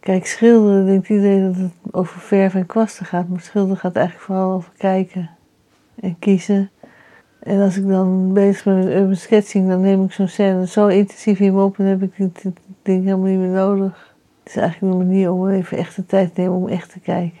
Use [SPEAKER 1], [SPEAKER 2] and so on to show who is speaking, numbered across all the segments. [SPEAKER 1] Kijk, schilderen denkt iedereen dat het over verf en kwasten gaat, maar schilderen gaat eigenlijk vooral over kijken en kiezen. En als ik dan bezig ben met urban sketching, dan neem ik zo'n scène zo intensief in me op en heb ik dit, dit ding helemaal niet meer nodig. Het is eigenlijk een manier om even echt de tijd te nemen om echt te kijken.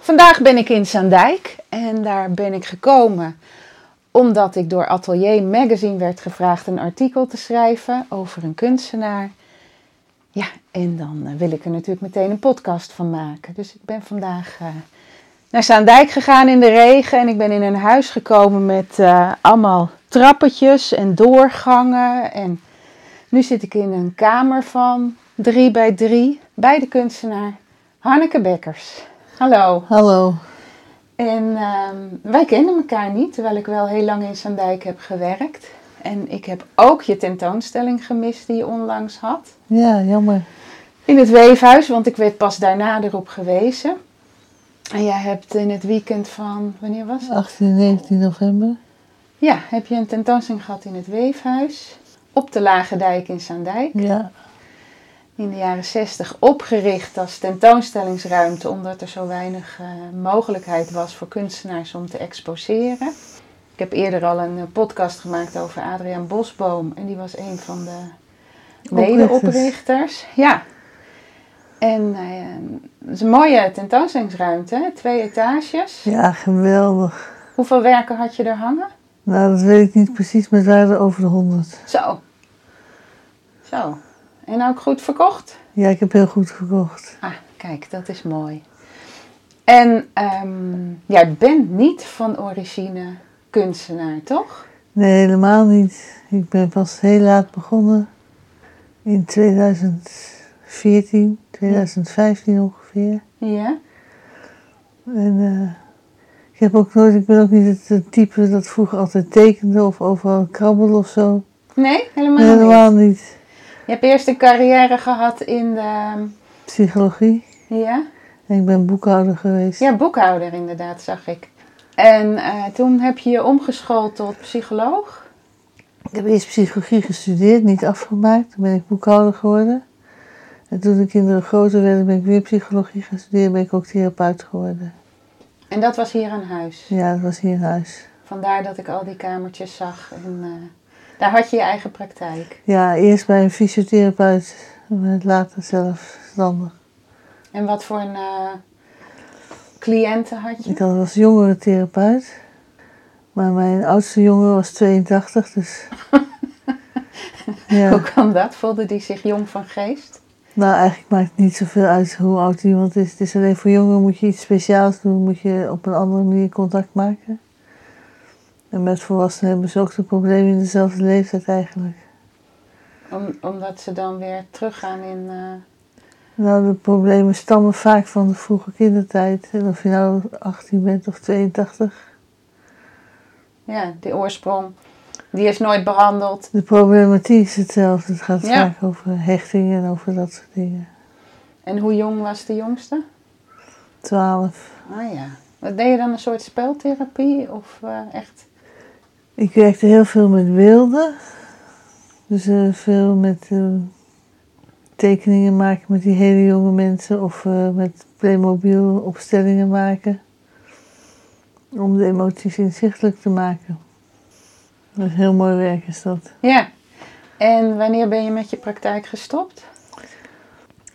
[SPEAKER 2] Vandaag ben ik in Zaandijk en daar ben ik gekomen omdat ik door Atelier Magazine werd gevraagd een artikel te schrijven over een kunstenaar. Ja, en dan eh, wil ik er natuurlijk meteen een podcast van maken. Dus ik ben vandaag eh, naar Zaandijk gegaan in de regen en ik ben in een huis gekomen met eh, allemaal trappetjes en doorgangen. En nu zit ik in een kamer van drie bij drie bij de kunstenaar Hanneke Bekkers. Hallo.
[SPEAKER 1] Hallo.
[SPEAKER 2] En ehm, wij kenden elkaar niet, terwijl ik wel heel lang in Zandijk heb gewerkt. En ik heb ook je tentoonstelling gemist die je onlangs had.
[SPEAKER 1] Ja, jammer.
[SPEAKER 2] In het Weefhuis, want ik werd pas daarna erop gewezen. En jij hebt in het weekend van, wanneer was het?
[SPEAKER 1] 18 en 19 november.
[SPEAKER 2] Ja, heb je een tentoonstelling gehad in het Weefhuis. Op de Lage Dijk in Zandijk.
[SPEAKER 1] Ja,
[SPEAKER 2] in de jaren 60 opgericht als tentoonstellingsruimte, omdat er zo weinig eh, mogelijkheid was voor kunstenaars om te exposeren. Ik heb eerder al een eh, podcast gemaakt over Adriaan Bosboom en die was een van de medeoprichters. Ja. En eh, het is een mooie tentoonstellingsruimte, hè? twee etages.
[SPEAKER 1] ja geweldig.
[SPEAKER 2] Hoeveel werken had je er hangen?
[SPEAKER 1] Nou, dat weet ik niet precies, maar het waren er over de 100.
[SPEAKER 2] Zo. Zo. En ook goed verkocht?
[SPEAKER 1] Ja, ik heb heel goed gekocht.
[SPEAKER 2] Ah, kijk, dat is mooi. En ehm, jij bent niet van origine kunstenaar, toch?
[SPEAKER 1] Nee, helemaal niet. Ik ben pas heel laat begonnen. In 2014, 2015 ongeveer.
[SPEAKER 2] Ja.
[SPEAKER 1] En eh, ik, heb ook nooit, ik ben ook niet het, het type dat vroeger altijd tekende of overal krabbelde of zo.
[SPEAKER 2] Nee, helemaal,
[SPEAKER 1] Nee,
[SPEAKER 2] niet.
[SPEAKER 1] helemaal niet.
[SPEAKER 2] Je hebt eerst een carrière gehad in de...
[SPEAKER 1] Psychologie.
[SPEAKER 2] Ja,
[SPEAKER 1] En ik ben boekhouder geweest.
[SPEAKER 2] ja boekhouder inderdaad, zag ik. En eh, toen heb je je omgeschoold tot psycholoog.
[SPEAKER 1] Ik heb eerst psychologie gestudeerd, niet afgemaakt. Toen ben ik boekhouder geworden. En toen de kinderen groter werden, ben ik weer psychologie gaan studeren. Ben ik ook therapeut geworden.
[SPEAKER 2] En dat was hier aan huis.
[SPEAKER 1] Ja, dat was hier in huis.
[SPEAKER 2] Vandaar dat ik al die kamertjes zag. En eh, daar had je je eigen praktijk.
[SPEAKER 1] Ja, eerst bij een fysiotherapeut. En later zelfstandig.
[SPEAKER 2] En wat voor een, eh, cliënten had je?
[SPEAKER 1] Ik had als jongere therapeut. Maar mijn oudste jongen was 82, dus...
[SPEAKER 2] Hoe
[SPEAKER 1] Ja,
[SPEAKER 2] kwam dat? Voelde die zich jong van geest?
[SPEAKER 1] nou eigenlijk maakt het niet zoveel uit hoe oud iemand is. Het is alleen voor jongeren moet je iets speciaals doen, moet je op een andere manier contact maken. En met volwassenen hebben ze ook de problemen in dezelfde leeftijd eigenlijk.
[SPEAKER 2] Om, omdat ze dan weer teruggaan in. eh,
[SPEAKER 1] Nou, de problemen stammen vaak van de vroege kindertijd. En of je nou 18 bent of 82.
[SPEAKER 2] ja, die oorsprong. Die is nooit behandeld.
[SPEAKER 1] De problematiek is hetzelfde. Het gaat
[SPEAKER 2] Ja.
[SPEAKER 1] vaak over hechting en over dat soort dingen.
[SPEAKER 2] En hoe jong was de jongste?
[SPEAKER 1] 12.
[SPEAKER 2] Ah ja. Wat deed je dan een soort speltherapie? Of eh, echt.
[SPEAKER 1] Ik werkte heel veel met beelden. Dus eh, veel met eh, tekeningen maken met die hele jonge mensen. Of eh, met Playmobil opstellingen maken. Om de emoties inzichtelijk te maken. Dat is heel mooi werk is dat.
[SPEAKER 2] Ja. En wanneer ben je met je praktijk gestopt?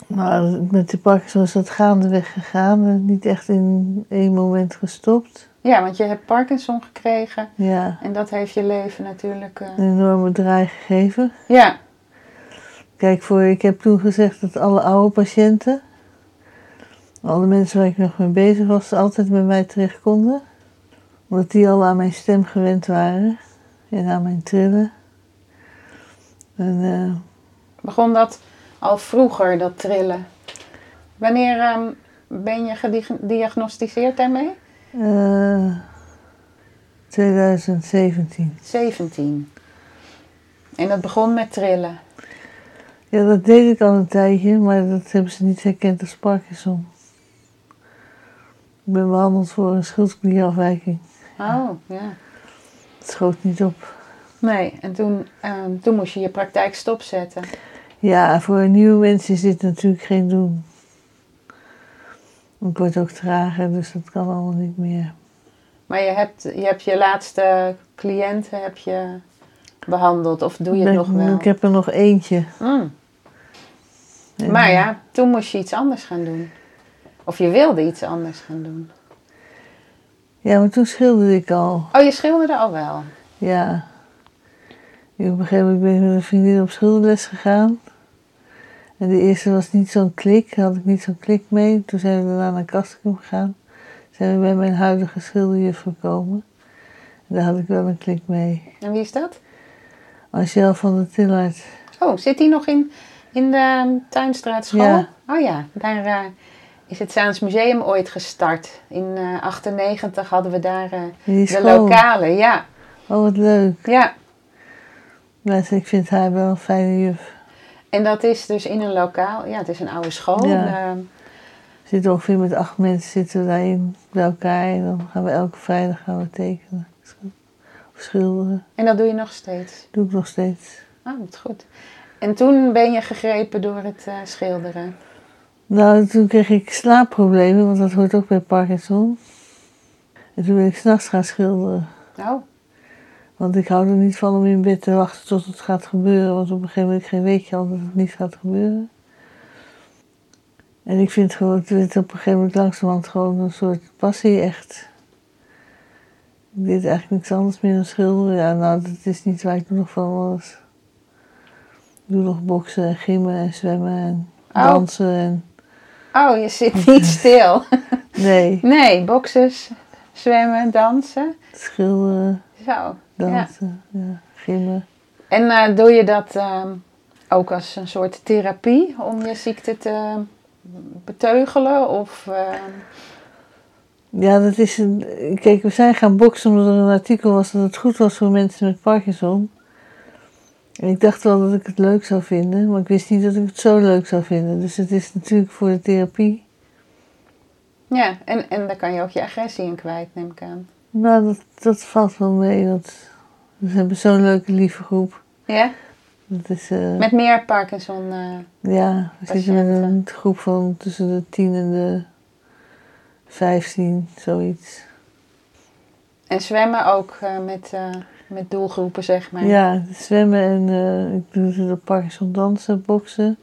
[SPEAKER 1] Maar met de Parkinson is dat gaandeweg gegaan. en Niet echt in één moment gestopt.
[SPEAKER 2] Ja, want je hebt Parkinson gekregen.
[SPEAKER 1] Ja,
[SPEAKER 2] En dat heeft je leven natuurlijk. eh,
[SPEAKER 1] een enorme draai gegeven.
[SPEAKER 2] ja.
[SPEAKER 1] Kijk, voor, ik heb toen gezegd dat alle oude patiënten, alle mensen waar ik nog mee bezig was, altijd bij mij terecht konden. Omdat die al aan mijn stem gewend waren en aan mijn trillen. En eh,
[SPEAKER 2] Begon dat al vroeger, dat trillen. Wanneer ehm, ben je gediagnosticeerd daarmee?
[SPEAKER 1] Eh, 2017.
[SPEAKER 2] 17. En dat begon met trillen.
[SPEAKER 1] Ja, dat deed ik al een tijdje, maar dat hebben ze niet herkend als Parkinson. Ik ben behandeld voor een schildklierafwijking.
[SPEAKER 2] Oh, ja.
[SPEAKER 1] Het schoot niet op.
[SPEAKER 2] Nee, en toen, ehm, toen moest je je praktijk stopzetten.
[SPEAKER 1] Ja, voor nieuwe mensen is dit natuurlijk geen doen. Ik word ook trager, dus dat kan allemaal niet meer.
[SPEAKER 2] Maar je hebt je, hebt je laatste cliënten heb je behandeld, of doe je het
[SPEAKER 1] Ik-
[SPEAKER 2] nog wel?
[SPEAKER 1] Ik heb er nog eentje.
[SPEAKER 2] Mm.
[SPEAKER 1] En-
[SPEAKER 2] Maar ja, toen moest je iets anders gaan doen. Of je wilde iets anders gaan doen.
[SPEAKER 1] Ja, maar toen schilderde ik al.
[SPEAKER 2] Oh, je schilderde al wel.
[SPEAKER 1] Ja. Ik op een gegeven moment ben ik met een vriendin op schilderles gegaan. En de eerste was niet zo'n klik, daar had ik niet zo'n klik mee. Toen zijn we daarna naar Castricum gegaan. Zijn we bij mijn huidige schilderjuf gekomen. En daar had ik wel een klik mee.
[SPEAKER 2] En wie is dat?
[SPEAKER 1] Angel van der Tillard.
[SPEAKER 2] Oh, zit die nog in, in de ehm, Tuinstraatschool?
[SPEAKER 1] Ja.
[SPEAKER 2] Oh ja, daar eh, is het Zaans Museum ooit gestart. In eh, 98 hadden we daar eh,
[SPEAKER 1] Die
[SPEAKER 2] de
[SPEAKER 1] school.
[SPEAKER 2] lokale. Ja,
[SPEAKER 1] Oh, wat leuk.
[SPEAKER 2] ja.
[SPEAKER 1] Maar ze- ik vind haar wel een fijne juf.
[SPEAKER 2] En dat is dus in een lokaal. Ja, het is een oude school.
[SPEAKER 1] Ja.
[SPEAKER 2] ehm,
[SPEAKER 1] We zitten ongeveer met acht mensen zitten we daarin bij elkaar. En dan gaan we elke vrijdag gaan we tekenen. Of schilderen.
[SPEAKER 2] en dat doe je nog steeds.
[SPEAKER 1] Doe ik nog steeds.
[SPEAKER 2] Ah, wat goed. En toen ben je gegrepen door het eh, schilderen.
[SPEAKER 1] Nou, toen kreeg ik slaapproblemen, want dat hoort ook bij Parkinson. En toen ben ik s'nachts gaan schilderen.
[SPEAKER 2] Oh,
[SPEAKER 1] Want ik hou er niet van om in bed te wachten tot het gaat gebeuren. Want op een gegeven moment geen weet je al dat het niet gaat gebeuren. En ik vind gewoon, het werd op een gegeven moment langzamerhand gewoon een soort passie echt. Ik deed eigenlijk niks anders meer dan schilderen. Ja, nou, dat is niet waar. Ik doe nog van alles. Ik doe nog boksen en gimmen en zwemmen en
[SPEAKER 2] Oh.
[SPEAKER 1] dansen en...
[SPEAKER 2] oh je zit niet stil.
[SPEAKER 1] Nee,
[SPEAKER 2] Nee, boxes, zwemmen, dansen.
[SPEAKER 1] schilderen.
[SPEAKER 2] Zo. Ja.
[SPEAKER 1] dansen, ja. gimmen.
[SPEAKER 2] En eh, doe je dat ehm, ook als een soort therapie om je ziekte te beteugelen? Of, ehm,
[SPEAKER 1] Ja, dat is een. Kijk, we zijn gaan boksen omdat er een artikel was dat het goed was voor mensen met Parkinson. En ik dacht wel dat ik het leuk zou vinden, maar ik wist niet dat ik het zo leuk zou vinden. Dus het is natuurlijk voor de therapie.
[SPEAKER 2] ja, en, en daar kan je ook je agressie in kwijt, neem ik aan.
[SPEAKER 1] Nou, dat, dat valt wel mee, want we hebben zo'n leuke, lieve groep.
[SPEAKER 2] Ja?
[SPEAKER 1] Dat is, eh,
[SPEAKER 2] Met meer Parkinson. eh,
[SPEAKER 1] ja, we zitten met
[SPEAKER 2] patiënten.
[SPEAKER 1] een groep van tussen de 10 en de 15, zoiets.
[SPEAKER 2] en zwemmen ook eh, met, eh, met doelgroepen, zeg maar.
[SPEAKER 1] Ja, zwemmen en eh, ik doe de Parkinson dansen, boksen,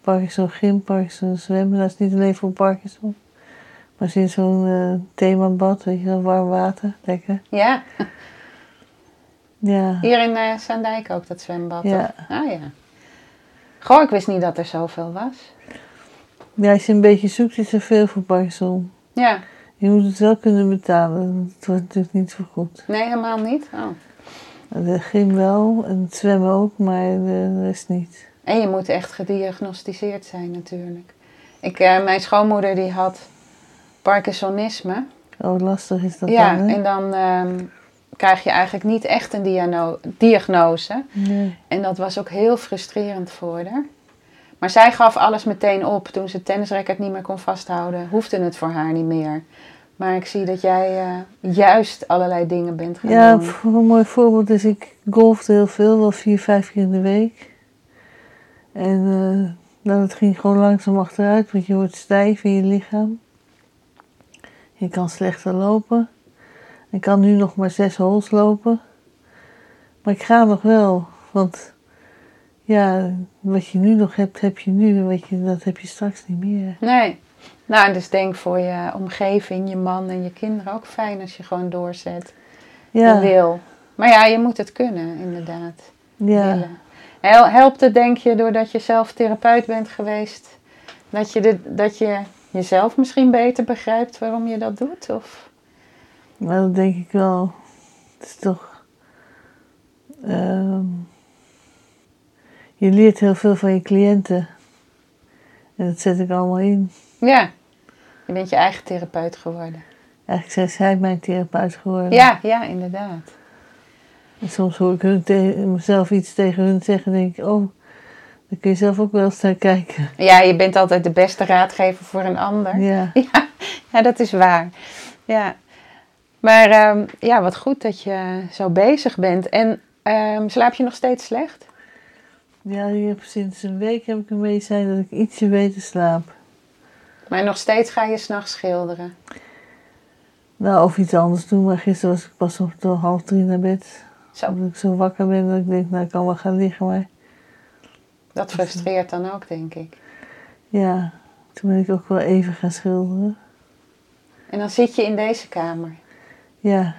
[SPEAKER 1] Parkinson gym, Parkinson zwemmen. Dat is niet alleen voor Parkinson. Maar sinds zo'n eh, themabad, weet je wel, warm water, lekker.
[SPEAKER 2] ja.
[SPEAKER 1] Ja,
[SPEAKER 2] Hier in eh, Zaandijk ook dat zwembad.
[SPEAKER 1] Ja.
[SPEAKER 2] toch? Ah ja. Goh, ik wist niet dat er zoveel was.
[SPEAKER 1] ja als je een beetje zoekt, is er veel voor Parkinson.
[SPEAKER 2] Ja,
[SPEAKER 1] Je moet het wel kunnen betalen, want het wordt natuurlijk niet vergoed.
[SPEAKER 2] nee, helemaal niet. Oh.
[SPEAKER 1] De gym wel, en het zwemmen ook, maar de rest niet.
[SPEAKER 2] En je moet echt gediagnosticeerd zijn natuurlijk. Ik, eh, mijn schoonmoeder die had Parkinsonisme.
[SPEAKER 1] Oh, lastig is dat
[SPEAKER 2] ja,
[SPEAKER 1] dan, hè?
[SPEAKER 2] en dan ehm, krijg je eigenlijk niet echt een diano- diagnose.
[SPEAKER 1] Nee.
[SPEAKER 2] En dat was ook heel frustrerend voor haar. Maar zij gaf alles meteen op. Toen ze het tennisracket niet meer kon vasthouden, hoefde het voor haar niet meer. Maar ik zie dat jij eh, juist allerlei dingen bent gaan
[SPEAKER 1] Ja,
[SPEAKER 2] doen.
[SPEAKER 1] voor een mooi voorbeeld is, ik golfde heel veel, wel vier, vijf keer in de week. En eh, nou, dat ging gewoon langzaam achteruit, want je wordt stijf in je lichaam. Je kan slechter lopen. Ik kan nu nog maar zes holes lopen. Maar ik ga nog wel, want ja, wat je nu nog hebt, heb je nu en wat je, dat heb je straks niet meer.
[SPEAKER 2] Nee. Nou, dus denk voor je omgeving, je man en je kinderen ook fijn als je gewoon doorzet.
[SPEAKER 1] Ja,
[SPEAKER 2] En wil. Maar ja, je moet het kunnen, inderdaad.
[SPEAKER 1] ja.
[SPEAKER 2] Willen. Hel- Helpt het, denk je, doordat je zelf therapeut bent geweest? Dat je, dit, dat je jezelf misschien beter begrijpt waarom je dat doet? Of...
[SPEAKER 1] Nou, dat denk ik wel. Het is toch. ehm, je leert heel veel van je cliënten. En dat zet ik allemaal in.
[SPEAKER 2] Ja. Je bent je eigen therapeut geworden.
[SPEAKER 1] Eigenlijk zijn zij mijn therapeut geworden.
[SPEAKER 2] Ja, ja, inderdaad.
[SPEAKER 1] En soms hoor ik hun te- mezelf iets tegen hun zeggen en denk ik, oh, daar kun je zelf ook wel eens naar kijken.
[SPEAKER 2] Ja, je bent altijd de beste raadgever voor een ander.
[SPEAKER 1] Ja,
[SPEAKER 2] Ja, ja, dat is waar. Ja. Maar ehm, ja, wat goed dat je zo bezig bent. En ehm, slaap je nog steeds slecht?
[SPEAKER 1] ja ik heb sinds een week heb ik een medicijn dat ik ietsje beter slaap.
[SPEAKER 2] Maar nog steeds ga je s'nachts schilderen.
[SPEAKER 1] Nou, of iets anders doen, maar gisteren was ik pas om tot half drie naar bed.
[SPEAKER 2] Zo,
[SPEAKER 1] Omdat ik zo wakker ben dat ik denk, nou ik kan wel gaan liggen, maar
[SPEAKER 2] dat frustreert dan ook, denk ik.
[SPEAKER 1] ja, toen ben ik ook wel even gaan schilderen.
[SPEAKER 2] En dan zit je in deze kamer.
[SPEAKER 1] Ja,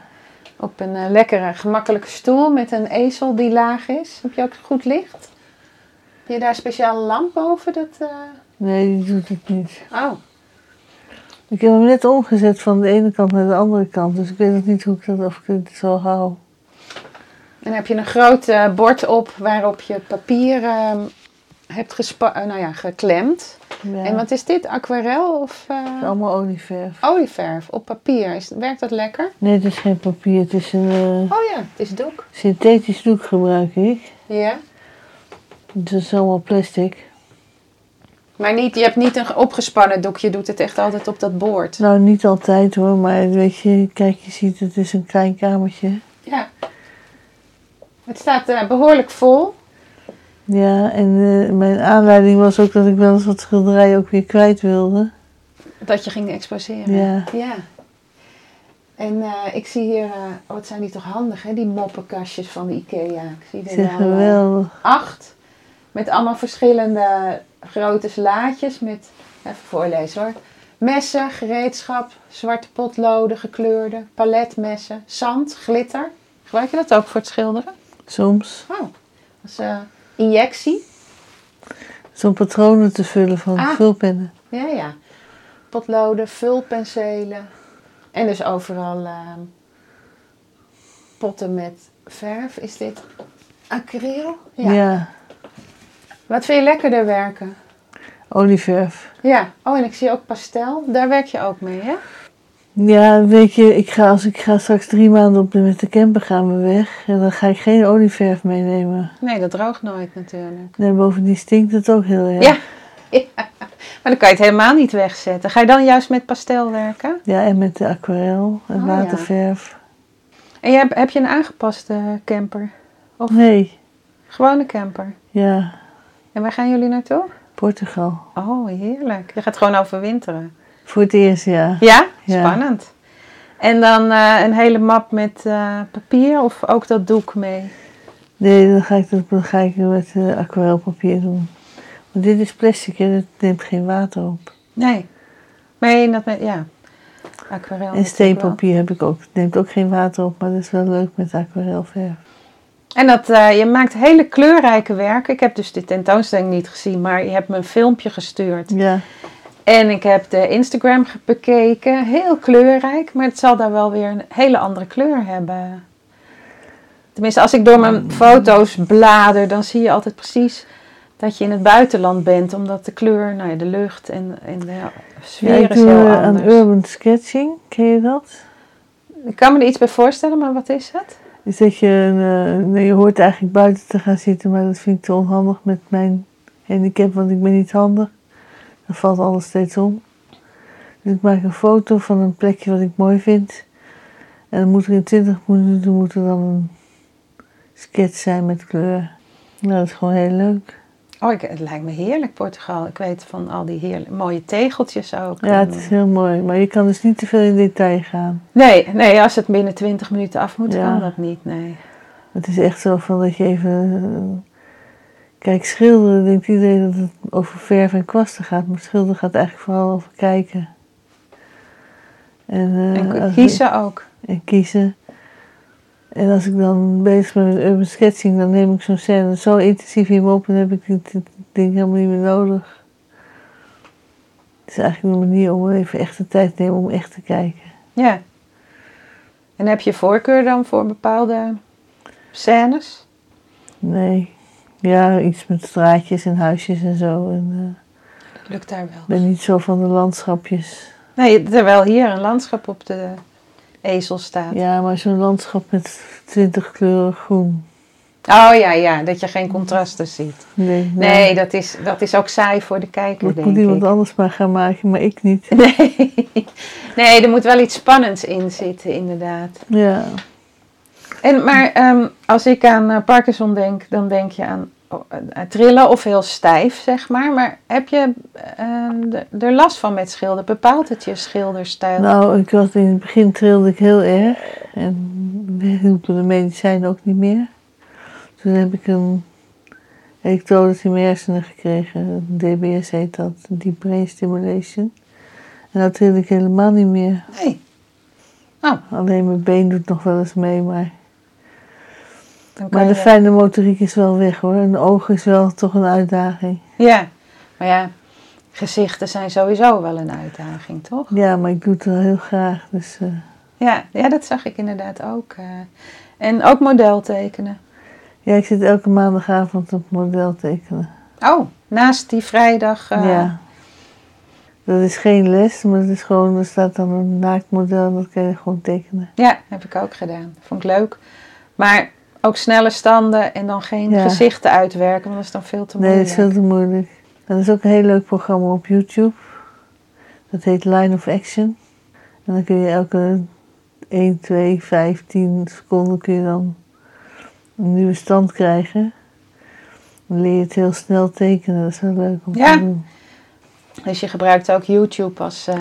[SPEAKER 2] Op een eh, lekkere, gemakkelijke stoel met een ezel die laag is. Heb je ook goed licht? Heb je daar een speciale lamp boven? Dat, eh,
[SPEAKER 1] nee, die doet het niet.
[SPEAKER 2] Oh,
[SPEAKER 1] Ik heb hem net omgezet van de ene kant naar de andere kant, dus ik weet nog niet hoe ik dat of ik het zo hou.
[SPEAKER 2] en heb je een groot eh, bord op waarop je papier ehm, hebt gespa- eh, nou ja, geklemd.
[SPEAKER 1] Ja.
[SPEAKER 2] En wat is dit? Aquarel of eh,
[SPEAKER 1] Allemaal olieverf.
[SPEAKER 2] olieverf op papier? Is, werkt dat lekker?
[SPEAKER 1] Nee, het is geen papier. Het is een eh,
[SPEAKER 2] Oh ja, het is doek.
[SPEAKER 1] synthetisch doek gebruik ik.
[SPEAKER 2] Ja.
[SPEAKER 1] Het is allemaal plastic.
[SPEAKER 2] Maar niet, je hebt niet een opgespannen doek. Je doet het echt altijd op dat boord.
[SPEAKER 1] Nou, niet altijd hoor, maar weet je, kijk, je ziet het is een klein kamertje.
[SPEAKER 2] Ja. Het staat eh, behoorlijk vol.
[SPEAKER 1] Ja, en eh, mijn aanleiding was ook dat ik wel eens wat schilderijen ook weer kwijt wilde.
[SPEAKER 2] Dat je ging exposeren.
[SPEAKER 1] Ja.
[SPEAKER 2] En eh, ik zie hier, eh, oh, wat zijn die toch handig hè, die moppenkastjes van de Ikea. Ik zie
[SPEAKER 1] Ik
[SPEAKER 2] er
[SPEAKER 1] zeg
[SPEAKER 2] nou, eh,
[SPEAKER 1] geweldig.
[SPEAKER 2] acht. Met allemaal verschillende grote slaatjes met, even voorlezen hoor. Messen, gereedschap, zwarte potloden, gekleurde, paletmessen, zand, glitter. Gebruik je dat ook voor het schilderen?
[SPEAKER 1] Soms.
[SPEAKER 2] Oh, als eh, injectie.
[SPEAKER 1] Zo'n patronen te vullen van
[SPEAKER 2] Ah.
[SPEAKER 1] vulpennen.
[SPEAKER 2] Ja, ja. Potloden, vulpenselen. En dus overal eh, potten met verf. Is dit acryl?
[SPEAKER 1] Ja.
[SPEAKER 2] Wat vind je lekkerder werken?
[SPEAKER 1] olieverf.
[SPEAKER 2] Ja. Oh, en ik zie ook pastel. Daar werk je ook mee, hè?
[SPEAKER 1] Ja, weet je, ik ga, als ik ga straks drie maanden op de, met de camper gaan we weg. En dan ga ik geen olieverf meenemen.
[SPEAKER 2] Nee, dat droogt nooit natuurlijk.
[SPEAKER 1] En bovendien stinkt het ook heel erg.
[SPEAKER 2] Ja. Maar dan kan je het helemaal niet wegzetten. Ga je dan juist met pastel werken?
[SPEAKER 1] Ja, en met de aquarel en
[SPEAKER 2] Oh, ja.
[SPEAKER 1] waterverf.
[SPEAKER 2] En je hebt, heb je een aangepaste camper?
[SPEAKER 1] Nee,
[SPEAKER 2] Gewone camper?
[SPEAKER 1] ja,
[SPEAKER 2] En waar gaan jullie naartoe?
[SPEAKER 1] Portugal.
[SPEAKER 2] Oh, heerlijk. Je gaat gewoon overwinteren.
[SPEAKER 1] Voor het eerst, ja.
[SPEAKER 2] Ja,
[SPEAKER 1] Ja.
[SPEAKER 2] spannend. En dan eh, een hele map met eh, papier of ook dat doek mee.
[SPEAKER 1] Nee, dan ga ik dat dan ga ik met eh, aquarelpapier doen. Want dit is plastic en het neemt geen water op.
[SPEAKER 2] Nee. Nee, dat met, ja. Aquarel.
[SPEAKER 1] en
[SPEAKER 2] natuurlijk
[SPEAKER 1] steenpapier heb ik ook. Het neemt ook geen water op, maar dat is wel leuk met aquarelverf.
[SPEAKER 2] wel. En dat, eh, je maakt hele kleurrijke werken. Ik heb dus de tentoonstelling niet gezien, maar je hebt me een filmpje gestuurd.
[SPEAKER 1] Ja,
[SPEAKER 2] En ik heb de Instagram ge- bekeken. Heel kleurrijk, maar het zal daar wel weer een hele andere kleur hebben. Tenminste, als ik door
[SPEAKER 1] Mm.
[SPEAKER 2] mijn foto's blader, dan zie je altijd precies dat je in het buitenland bent. Omdat de kleur, nou ja, de lucht en, en de
[SPEAKER 1] ja
[SPEAKER 2] sfeer
[SPEAKER 1] ik
[SPEAKER 2] is
[SPEAKER 1] doe
[SPEAKER 2] heel
[SPEAKER 1] eh, eh, aan
[SPEAKER 2] anders.
[SPEAKER 1] urban sketching. Ken je dat?
[SPEAKER 2] Ik kan me er iets bij voorstellen, maar wat is het?
[SPEAKER 1] Is dat je, een, eh, nee, je hoort eigenlijk buiten te gaan zitten, maar dat vind ik te onhandig met mijn handicap, want ik ben niet handig. Dan valt alles steeds om. Dus ik maak een foto van een plekje wat ik mooi vind. En dan moet er in 20 minuten moet er dan een sketch zijn met kleur. Nou, dat is gewoon heel leuk.
[SPEAKER 2] Oh, ik, het lijkt me heerlijk, Portugal. Ik weet van al die heerlijke, mooie tegeltjes ook.
[SPEAKER 1] Ja, het is heel mooi, maar je kan dus niet te veel in detail gaan.
[SPEAKER 2] nee, nee, als het binnen 20 minuten af moet,
[SPEAKER 1] Ja.
[SPEAKER 2] kan dat niet. Nee.
[SPEAKER 1] Het is echt zo van dat je even. eh, Kijk, schilderen denkt iedereen dat het over verf en kwasten gaat, maar schilderen gaat eigenlijk vooral over kijken. En, eh, als
[SPEAKER 2] En
[SPEAKER 1] ik-
[SPEAKER 2] kiezen ook.
[SPEAKER 1] en kiezen. En als ik dan bezig ben met urban sketching, dan neem ik zo'n scène zo intensief in me op en heb ik dit, dit ding helemaal niet meer nodig. Het is eigenlijk een manier om even echt de tijd te nemen om echt te kijken.
[SPEAKER 2] Ja. En heb je voorkeur dan voor bepaalde scènes?
[SPEAKER 1] Nee. Ja, iets met straatjes en huisjes en zo. En, eh,
[SPEAKER 2] Dat lukt daar wel.
[SPEAKER 1] Ik ben niet zo van de landschapjes.
[SPEAKER 2] Nee, terwijl hier een landschap op de ezel staat.
[SPEAKER 1] Ja, maar zo'n landschap met 20 kleuren groen.
[SPEAKER 2] Oh ja, ja, dat je geen contrasten ziet.
[SPEAKER 1] Nee, nou,
[SPEAKER 2] Nee, dat is, dat is ook saai voor de kijker,
[SPEAKER 1] dat
[SPEAKER 2] denk
[SPEAKER 1] moet
[SPEAKER 2] ik.
[SPEAKER 1] iemand anders maar gaan maken, maar ik niet.
[SPEAKER 2] Nee. nee, er moet wel iets spannends in zitten, inderdaad.
[SPEAKER 1] Ja,
[SPEAKER 2] En, maar ehm, als ik aan eh, Parkinson denk, dan denk je aan oh, eh, trillen of heel stijf, zeg maar. Maar heb je ehm, d- er last van met schilderen? Bepaalt het je schilderstijl?
[SPEAKER 1] nou, ik was in het begin trilde ik heel erg en hielpen de medicijnen ook niet meer. Toen heb ik een elektrodes in mijn hersenen gekregen, DBS heet dat, Deep Brain Stimulation. En dat trilde ik helemaal niet meer.
[SPEAKER 2] Nee,
[SPEAKER 1] Alleen mijn been doet nog wel eens mee, maar...
[SPEAKER 2] dan kan
[SPEAKER 1] Maar de
[SPEAKER 2] je-
[SPEAKER 1] fijne motoriek is wel weg hoor. En de ogen is wel toch een uitdaging.
[SPEAKER 2] Ja, maar ja, gezichten zijn sowieso wel een uitdaging, toch?
[SPEAKER 1] Ja, maar ik doe het wel heel graag. Dus eh,
[SPEAKER 2] Ja, ja dat zag ik inderdaad ook. eh. en ook model tekenen.
[SPEAKER 1] ja, ik zit elke maandagavond op model tekenen.
[SPEAKER 2] Oh, naast die vrijdag. eh,
[SPEAKER 1] Ja. Dat is geen les, maar het is gewoon, er staat dan een naaktmodel en dat kan je gewoon tekenen.
[SPEAKER 2] Ja, heb ik ook gedaan. Vond ik leuk. Maar ook snelle standen en dan geen
[SPEAKER 1] Ja.
[SPEAKER 2] gezichten uitwerken, want dat is dan veel te
[SPEAKER 1] Nee,
[SPEAKER 2] moeilijk.
[SPEAKER 1] dat is veel te moeilijk. En er is ook een heel leuk programma op YouTube. Dat heet Line of Action. En dan kun je elke 1, 2, 5, 10 seconden kun je dan een nieuwe stand krijgen. Dan leer je het heel snel tekenen. Dat is wel leuk om
[SPEAKER 2] Ja.
[SPEAKER 1] te doen.
[SPEAKER 2] Dus je gebruikt ook YouTube als eh,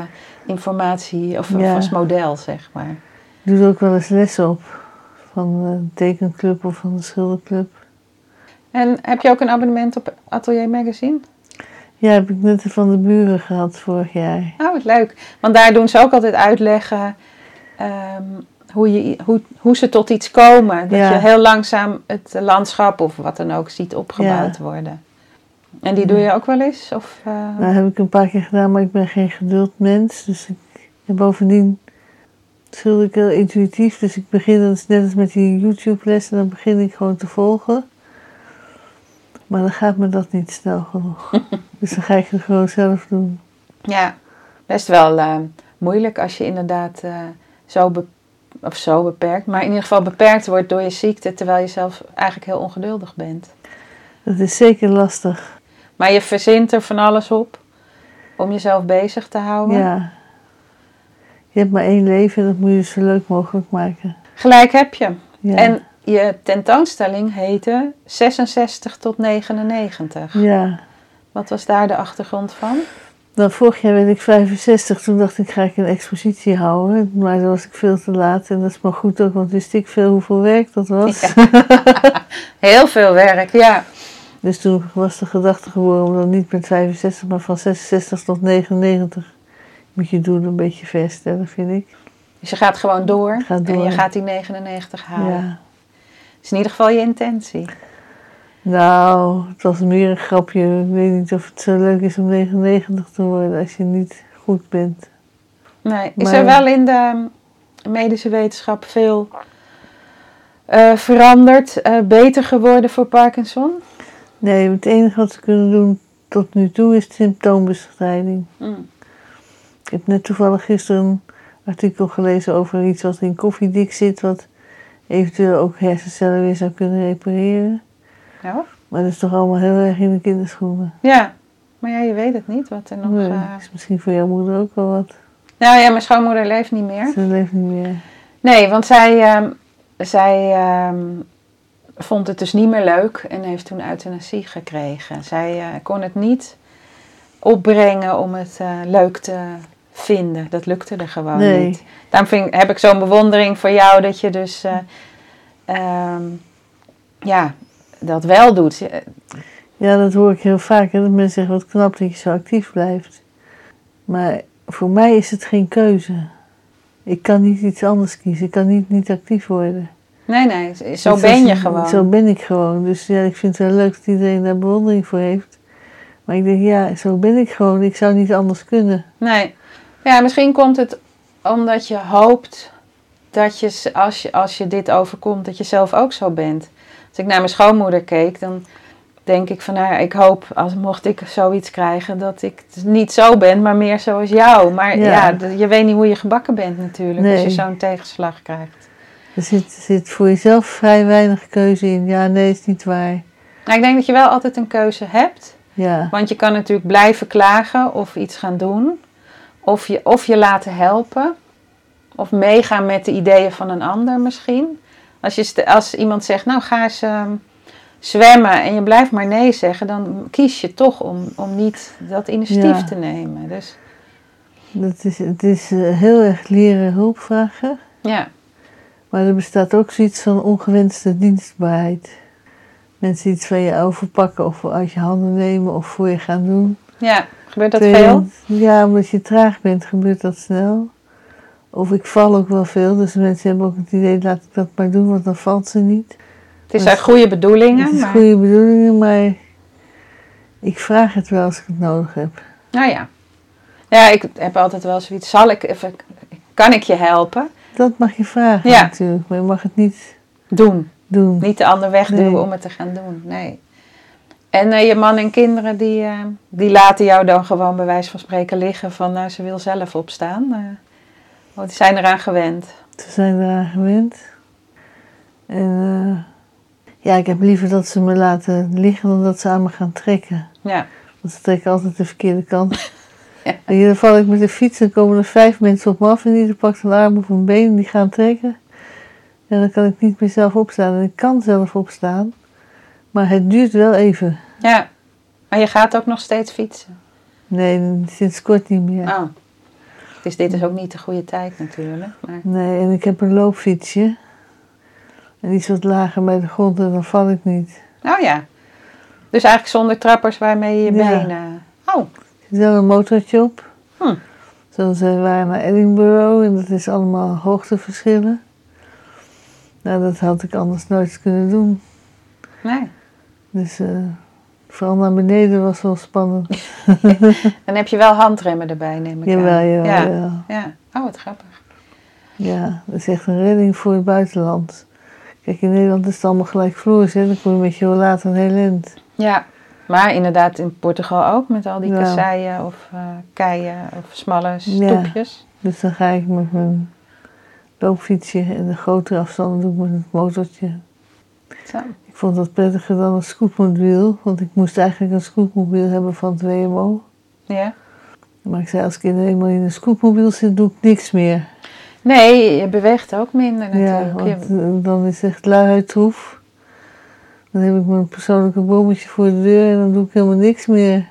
[SPEAKER 2] informatie of, of
[SPEAKER 1] Ja.
[SPEAKER 2] als model, zeg maar.
[SPEAKER 1] Ik doe er ook wel eens lessen op. Van een tekenclub of van een schilderclub.
[SPEAKER 2] En heb je ook een abonnement op Atelier Magazine?
[SPEAKER 1] Ja, heb ik net van de buren gehad vorig jaar.
[SPEAKER 2] Oh, wat leuk. Want daar doen ze ook altijd uitleggen ehm, hoe, je, hoe, hoe ze tot iets komen. Dat
[SPEAKER 1] Ja.
[SPEAKER 2] je heel langzaam het landschap of wat dan ook ziet opgebouwd worden. En die doe je ook wel eens? Of, eh,
[SPEAKER 1] Nou, heb ik een paar keer gedaan, maar ik ben geen geduldmens. Dus ik, en bovendien schilder ik heel intuïtief. Dus ik begin dan net als met die YouTube-lessen, dan begin ik gewoon te volgen. Maar dan gaat me dat niet snel genoeg. dus dan ga ik het gewoon zelf doen.
[SPEAKER 2] Ja, best wel eh, moeilijk als je inderdaad eh, zo, be- of zo beperkt, maar in ieder geval beperkt wordt door je ziekte, terwijl je zelf eigenlijk heel ongeduldig bent.
[SPEAKER 1] Dat is zeker lastig.
[SPEAKER 2] Maar je verzint er van alles op om jezelf bezig te houden.
[SPEAKER 1] Ja. Je hebt maar één leven en dat moet je zo leuk mogelijk maken.
[SPEAKER 2] Gelijk heb je.
[SPEAKER 1] Ja.
[SPEAKER 2] En je tentoonstelling heette 66 tot 99.
[SPEAKER 1] ja.
[SPEAKER 2] Wat was daar de achtergrond van?
[SPEAKER 1] Nou, vorig jaar werd ik 65. Toen dacht ik, ga ik een expositie houden. Maar toen was ik veel te laat. En dat is maar goed ook, want wist ik veel hoeveel werk dat was.
[SPEAKER 2] Heel veel werk, ja.
[SPEAKER 1] Dus toen was de gedachte geworden om dan niet met 65, maar van 66 tot 99. Moet je doen een beetje verstellen, vind ik.
[SPEAKER 2] Dus je gaat gewoon door,
[SPEAKER 1] Ga door.
[SPEAKER 2] en je gaat die 99 halen.
[SPEAKER 1] Ja.
[SPEAKER 2] Dat is in ieder geval je intentie.
[SPEAKER 1] Nou, het was meer een grapje. Ik weet niet of het zo leuk is om 99 te worden als je niet goed bent.
[SPEAKER 2] Nee, is
[SPEAKER 1] Maar-
[SPEAKER 2] er wel in de medische wetenschap veel eh, veranderd, eh, beter geworden voor Parkinson?
[SPEAKER 1] Nee, het enige wat ze kunnen doen tot nu toe is symptoombestrijding. Ik heb net toevallig gisteren een artikel gelezen over iets wat in koffiedik zit, wat eventueel ook hersencellen weer zou kunnen repareren.
[SPEAKER 2] Nou,
[SPEAKER 1] Maar dat is toch allemaal heel erg in de kinderschoenen.
[SPEAKER 2] ja. Maar ja, je weet het niet wat er nog...
[SPEAKER 1] Nee,
[SPEAKER 2] eh,
[SPEAKER 1] is misschien voor jouw moeder ook wel wat.
[SPEAKER 2] Nou ja, mijn schoonmoeder leeft niet meer.
[SPEAKER 1] Ze leeft niet meer.
[SPEAKER 2] Nee, want zij, ehm, zij ehm, vond het dus niet meer leuk en heeft toen euthanasie gekregen. Zij eh, kon het niet opbrengen om het eh, leuk te vinden. Dat lukte er gewoon
[SPEAKER 1] Nee.
[SPEAKER 2] niet. Daarom vind, ik- heb ik zo'n bewondering voor jou dat je dus eh, ehm, ja, dat wel doet. Je-
[SPEAKER 1] Ja, dat hoor ik heel vaak. Hè? Dat mensen zeggen, wat knap dat je zo actief blijft. Maar voor mij is het geen keuze. Ik kan niet iets anders kiezen. Ik kan niet niet actief worden.
[SPEAKER 2] Nee, nee, zo
[SPEAKER 1] Dus
[SPEAKER 2] ben
[SPEAKER 1] als-
[SPEAKER 2] je gewoon.
[SPEAKER 1] Zo ben ik gewoon. Dus ja, ik vind het wel leuk dat iedereen daar bewondering voor heeft. Maar ik denk, ja, zo ben ik gewoon. Ik zou niet anders kunnen.
[SPEAKER 2] Nee. Ja, misschien komt het omdat je hoopt dat je, z- als je, als je dit overkomt, dat je zelf ook zo bent. Als ik naar mijn schoonmoeder keek, dan denk ik van, nou ja, ik hoop, als mocht ik zoiets krijgen, dat ik dus niet zo ben, maar meer zoals jou. Maar
[SPEAKER 1] Ja.
[SPEAKER 2] ja, d- je weet niet hoe je gebakken bent natuurlijk, als je
[SPEAKER 1] Nee.
[SPEAKER 2] zo'n tegenslag krijgt.
[SPEAKER 1] Er zit, zit voor jezelf vrij weinig keuze in. Ja, nee, is niet waar.
[SPEAKER 2] Nou, ik denk dat je wel altijd een keuze hebt,
[SPEAKER 1] Ja,
[SPEAKER 2] want je kan natuurlijk blijven klagen of iets gaan doen, of je, of je laten helpen, of meegaan met de ideeën van een ander misschien. Als, je, st- als iemand zegt, nou ga eens ehm, zwemmen en je blijft maar nee zeggen, dan kies je toch om, om niet dat initiatief
[SPEAKER 1] Ja.
[SPEAKER 2] te nemen. Dus
[SPEAKER 1] dat is, het is eh, heel erg leren hulp vragen.
[SPEAKER 2] ja.
[SPEAKER 1] Maar er bestaat ook zoiets van ongewenste dienstbaarheid. Mensen iets van je overpakken of uit je handen nemen of voor je gaan doen.
[SPEAKER 2] Ja, gebeurt dat
[SPEAKER 1] Terwijl-
[SPEAKER 2] veel?
[SPEAKER 1] Ja, omdat je traag bent gebeurt dat snel. Of ik val ook wel veel, dus mensen hebben ook het idee, laat ik dat maar doen, want dan valt ze niet.
[SPEAKER 2] Het is uit goede
[SPEAKER 1] het
[SPEAKER 2] bedoelingen,
[SPEAKER 1] is
[SPEAKER 2] maar...
[SPEAKER 1] goede bedoelingen, maar ik vraag het wel als ik het nodig heb.
[SPEAKER 2] Nou ja. Ja, ik heb altijd wel zoiets. Zal ik even... Kan ik je helpen?
[SPEAKER 1] Dat mag je vragen
[SPEAKER 2] Ja.
[SPEAKER 1] natuurlijk, maar je mag het niet
[SPEAKER 2] Doen.
[SPEAKER 1] doen.
[SPEAKER 2] Niet de ander wegduwen
[SPEAKER 1] Nee.
[SPEAKER 2] om het te gaan doen. Nee. En eh, je man en kinderen, die, eh, die laten jou dan gewoon bij wijze van spreken liggen van... Nou, ze wil zelf opstaan. eh. want die zijn eraan gewend.
[SPEAKER 1] Ze zijn eraan gewend. En eh, ja, ik heb liever dat ze me laten liggen dan dat ze aan me gaan trekken.
[SPEAKER 2] Ja.
[SPEAKER 1] Want ze trekken altijd de verkeerde kant.
[SPEAKER 2] Ja.
[SPEAKER 1] En hier val ik met de fiets en komen er vijf mensen op me af en ieder pakt een arm of een been en die gaan trekken. En dan kan ik niet meer zelf opstaan. En ik kan zelf opstaan, maar het duurt wel even.
[SPEAKER 2] Ja. Maar je gaat ook nog steeds fietsen.
[SPEAKER 1] Nee, sinds kort niet meer.
[SPEAKER 2] Oh. Dus dit is ook niet de goede tijd natuurlijk. Maar...
[SPEAKER 1] Nee, en ik heb een loopfietsje. En die is wat lager bij de grond en dan val ik niet.
[SPEAKER 2] Nou ja. Dus eigenlijk zonder trappers waarmee je je
[SPEAKER 1] Ja.
[SPEAKER 2] benen... Oh,
[SPEAKER 1] Er zit wel een motortje op.
[SPEAKER 2] Hm.
[SPEAKER 1] Zoals we waren naar Edinburgh en dat is allemaal hoogteverschillen. Nou, dat had ik anders nooit kunnen doen.
[SPEAKER 2] nee.
[SPEAKER 1] Dus eh, vooral naar beneden was wel spannend.
[SPEAKER 2] Dan heb je wel handremmen erbij, neem ik
[SPEAKER 1] Jawel,
[SPEAKER 2] aan.
[SPEAKER 1] jawel,
[SPEAKER 2] ja.
[SPEAKER 1] jawel.
[SPEAKER 2] ja. Oh, wat grappig.
[SPEAKER 1] Ja, dat is echt een redding voor het buitenland. Kijk, in Nederland is het allemaal gelijk vloers, hè. Dan kom je met je laat een heel eind.
[SPEAKER 2] Ja. Maar inderdaad in Portugal ook, met al die
[SPEAKER 1] Ja.
[SPEAKER 2] kasseien of eh, keien of smalle
[SPEAKER 1] Ja.
[SPEAKER 2] stoepjes.
[SPEAKER 1] Dus dan ga ik met mijn loopfietsje en de grotere afstanden doe ik met het motortje.
[SPEAKER 2] Zo.
[SPEAKER 1] Ik vond dat prettiger dan een scootmobiel, want ik moest eigenlijk een scootmobiel hebben van het WMO.
[SPEAKER 2] Ja.
[SPEAKER 1] Maar ik zei, als ik in- eenmaal in een scootmobiel zit, doe ik niks meer.
[SPEAKER 2] Nee, je beweegt ook minder
[SPEAKER 1] Ja,
[SPEAKER 2] natuurlijk.
[SPEAKER 1] want
[SPEAKER 2] Je-
[SPEAKER 1] eh, dan is echt luiheid troef. Dan heb ik mijn persoonlijke bommetje voor de deur en dan doe ik helemaal niks meer.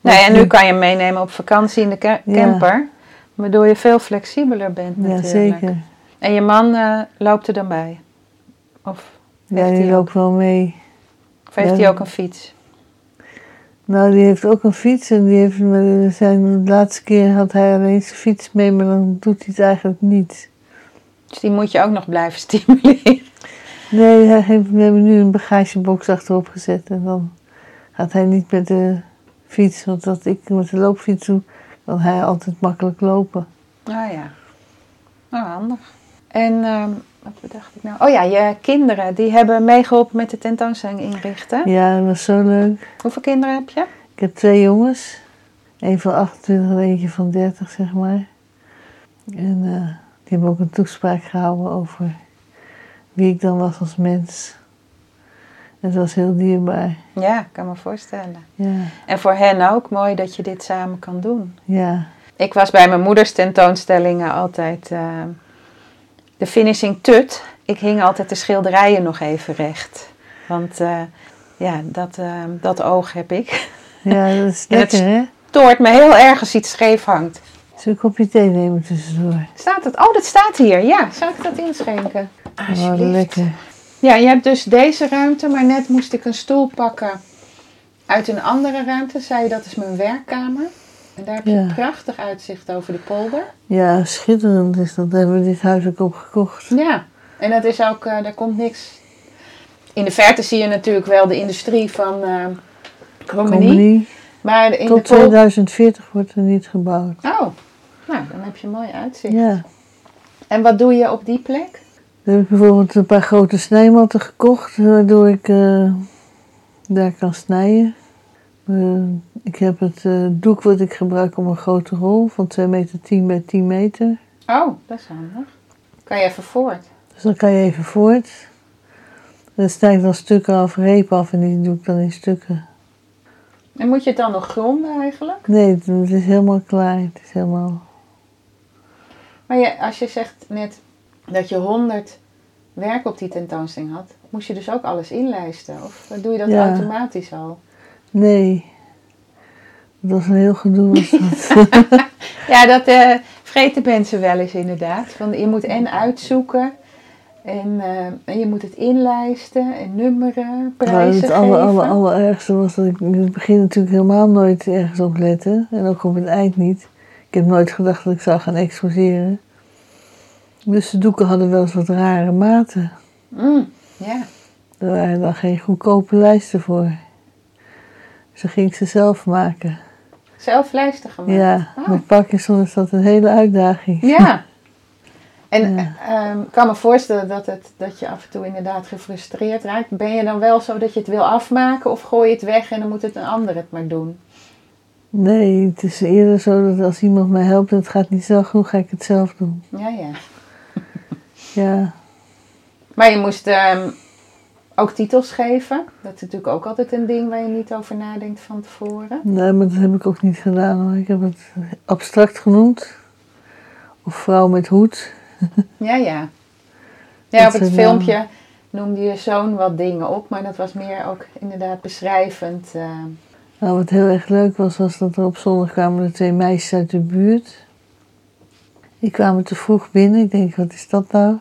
[SPEAKER 2] Nee, en Nou nu kan je hem meenemen op vakantie in de ca-
[SPEAKER 1] Ja.
[SPEAKER 2] camper. Waardoor je veel flexibeler bent
[SPEAKER 1] Ja,
[SPEAKER 2] natuurlijk.
[SPEAKER 1] zeker.
[SPEAKER 2] En je man eh, loopt er dan bij? Of
[SPEAKER 1] Ja,
[SPEAKER 2] Heeft
[SPEAKER 1] die
[SPEAKER 2] hij
[SPEAKER 1] loopt wel mee.
[SPEAKER 2] of heeft
[SPEAKER 1] Ja.
[SPEAKER 2] hij ook een fiets?
[SPEAKER 1] Nou, die heeft ook een fiets en die heeft me- zijn de laatste keer had hij alleen zijn fiets mee, maar dan doet hij het eigenlijk niet.
[SPEAKER 2] Dus die moet je ook nog blijven stimuleren.
[SPEAKER 1] Nee, hij heeft, we hebben nu een bagagebox achterop gezet. En dan gaat hij niet met de fiets. Want als ik met de loopfiets doe, kan hij altijd makkelijk lopen.
[SPEAKER 2] Ah ja. Nou, handig. En ehm, wat bedacht ik nou? Oh ja, je kinderen die hebben meegeholpen met de tentoonstelling inrichten.
[SPEAKER 1] Ja, dat was zo leuk.
[SPEAKER 2] Hoeveel kinderen heb je?
[SPEAKER 1] Ik heb twee jongens. Eén van 28 en eentje van 30, zeg maar. En eh, die hebben ook een toespraak gehouden over wie ik dan was als mens. En dat was heel dierbaar.
[SPEAKER 2] Ja, ik kan me voorstellen.
[SPEAKER 1] Ja,
[SPEAKER 2] En voor hen ook mooi dat je dit samen kan doen.
[SPEAKER 1] ja.
[SPEAKER 2] Ik was bij mijn moeders tentoonstellingen altijd ehm, de finishing tut. Ik hing altijd de schilderijen nog even recht. Want eh, ja, dat, ehm, dat oog heb ik.
[SPEAKER 1] ja dat is
[SPEAKER 2] En het-
[SPEAKER 1] lekker, hè?
[SPEAKER 2] Toort me heel erg als iets scheef hangt.
[SPEAKER 1] Zullen we een kopje thee nemen tussendoor?
[SPEAKER 2] Staat het? Oh, dat staat hier. Ja, zou ik dat inschenken?
[SPEAKER 1] Oh, lekker.
[SPEAKER 2] Ja, je hebt dus deze ruimte, maar net moest ik een stoel pakken uit een andere ruimte. Zei je, dat is mijn werkkamer. En daar heb je
[SPEAKER 1] Ja.
[SPEAKER 2] een prachtig uitzicht over de polder.
[SPEAKER 1] Ja, schitterend is dat. Daar hebben we dit huis ook op gekocht.
[SPEAKER 2] Ja, en dat is ook, eh, daar komt niks. In de verte zie je natuurlijk wel de industrie van eh Cromenie.
[SPEAKER 1] Comedy.
[SPEAKER 2] Maar in
[SPEAKER 1] Tot
[SPEAKER 2] de polder...
[SPEAKER 1] 2040 wordt er niet gebouwd.
[SPEAKER 2] Oh, nou, dan heb je een mooi uitzicht.
[SPEAKER 1] Ja.
[SPEAKER 2] En wat doe je op die plek?
[SPEAKER 1] Dan heb ik bijvoorbeeld een paar grote snijmatten gekocht, waardoor ik eh, daar kan snijden. Eh, ik heb het eh, doek wat ik gebruik om een grote rol van 2 meter 10 bij 10 meter.
[SPEAKER 2] Oh, dat is handig. Kan je even voort?
[SPEAKER 1] Dus dan kan je even voort. Dan snij ik dan stukken af, reep af en die doe ik dan in stukken.
[SPEAKER 2] En moet je het dan nog gronden eigenlijk?
[SPEAKER 1] Nee, het, het is helemaal klaar. Het is helemaal...
[SPEAKER 2] Maar je, als je zegt net dat je 100 werk op die tentoonstelling had, moest je dus ook alles inlijsten? Of doe je dat
[SPEAKER 1] Ja.
[SPEAKER 2] automatisch al?
[SPEAKER 1] Nee. Dat was een heel gedoe. was dat.
[SPEAKER 2] Ja, dat eh vreten mensen wel eens inderdaad. Van, je moet en uitzoeken en, eh, en je moet het inlijsten en nummeren,
[SPEAKER 1] Maar
[SPEAKER 2] prijzen
[SPEAKER 1] het aller,
[SPEAKER 2] geven.
[SPEAKER 1] aller, allerergste was dat ik in het begin natuurlijk helemaal nooit ergens op lette. En ook op het eind niet. Ik heb nooit gedacht dat ik zou gaan exposeren. Dus de doeken hadden wel eens wat rare maten.
[SPEAKER 2] Mm, ja.
[SPEAKER 1] Er waren dan geen goedkope lijsten voor. Dus dan ging ik ze zelf maken.
[SPEAKER 2] Zelf lijsten gemaakt.
[SPEAKER 1] Ja,
[SPEAKER 2] Oh.
[SPEAKER 1] met Parkinson is dat een hele uitdaging.
[SPEAKER 2] Ja. En
[SPEAKER 1] Ja.
[SPEAKER 2] eh, ehm, ik kan me voorstellen dat, het, dat je af en toe inderdaad gefrustreerd raakt. Ben je dan wel zo dat je het wil afmaken of gooi je het weg en dan moet het een ander het maar doen?
[SPEAKER 1] Nee, het is eerder zo dat als iemand mij helpt en het gaat niet zo goed, ga ik het zelf doen.
[SPEAKER 2] Ja, ja.
[SPEAKER 1] Ja,
[SPEAKER 2] Maar je moest ehm, ook titels geven. Dat is natuurlijk ook altijd een ding waar je niet over nadenkt van tevoren.
[SPEAKER 1] nee, maar dat heb ik ook niet gedaan hoor. Ik heb het abstract genoemd. Of vrouw met hoed.
[SPEAKER 2] Ja, ja.
[SPEAKER 1] Dat eh,
[SPEAKER 2] Ja, op het
[SPEAKER 1] zijn,
[SPEAKER 2] filmpje noemde je zoon wat dingen op, maar dat was meer ook inderdaad beschrijvend. ehm.
[SPEAKER 1] Nou, wat heel erg leuk was, was dat er op zondag kwamen er twee meisjes uit de buurt. Die kwamen te vroeg binnen. Ik denk, wat is dat nou?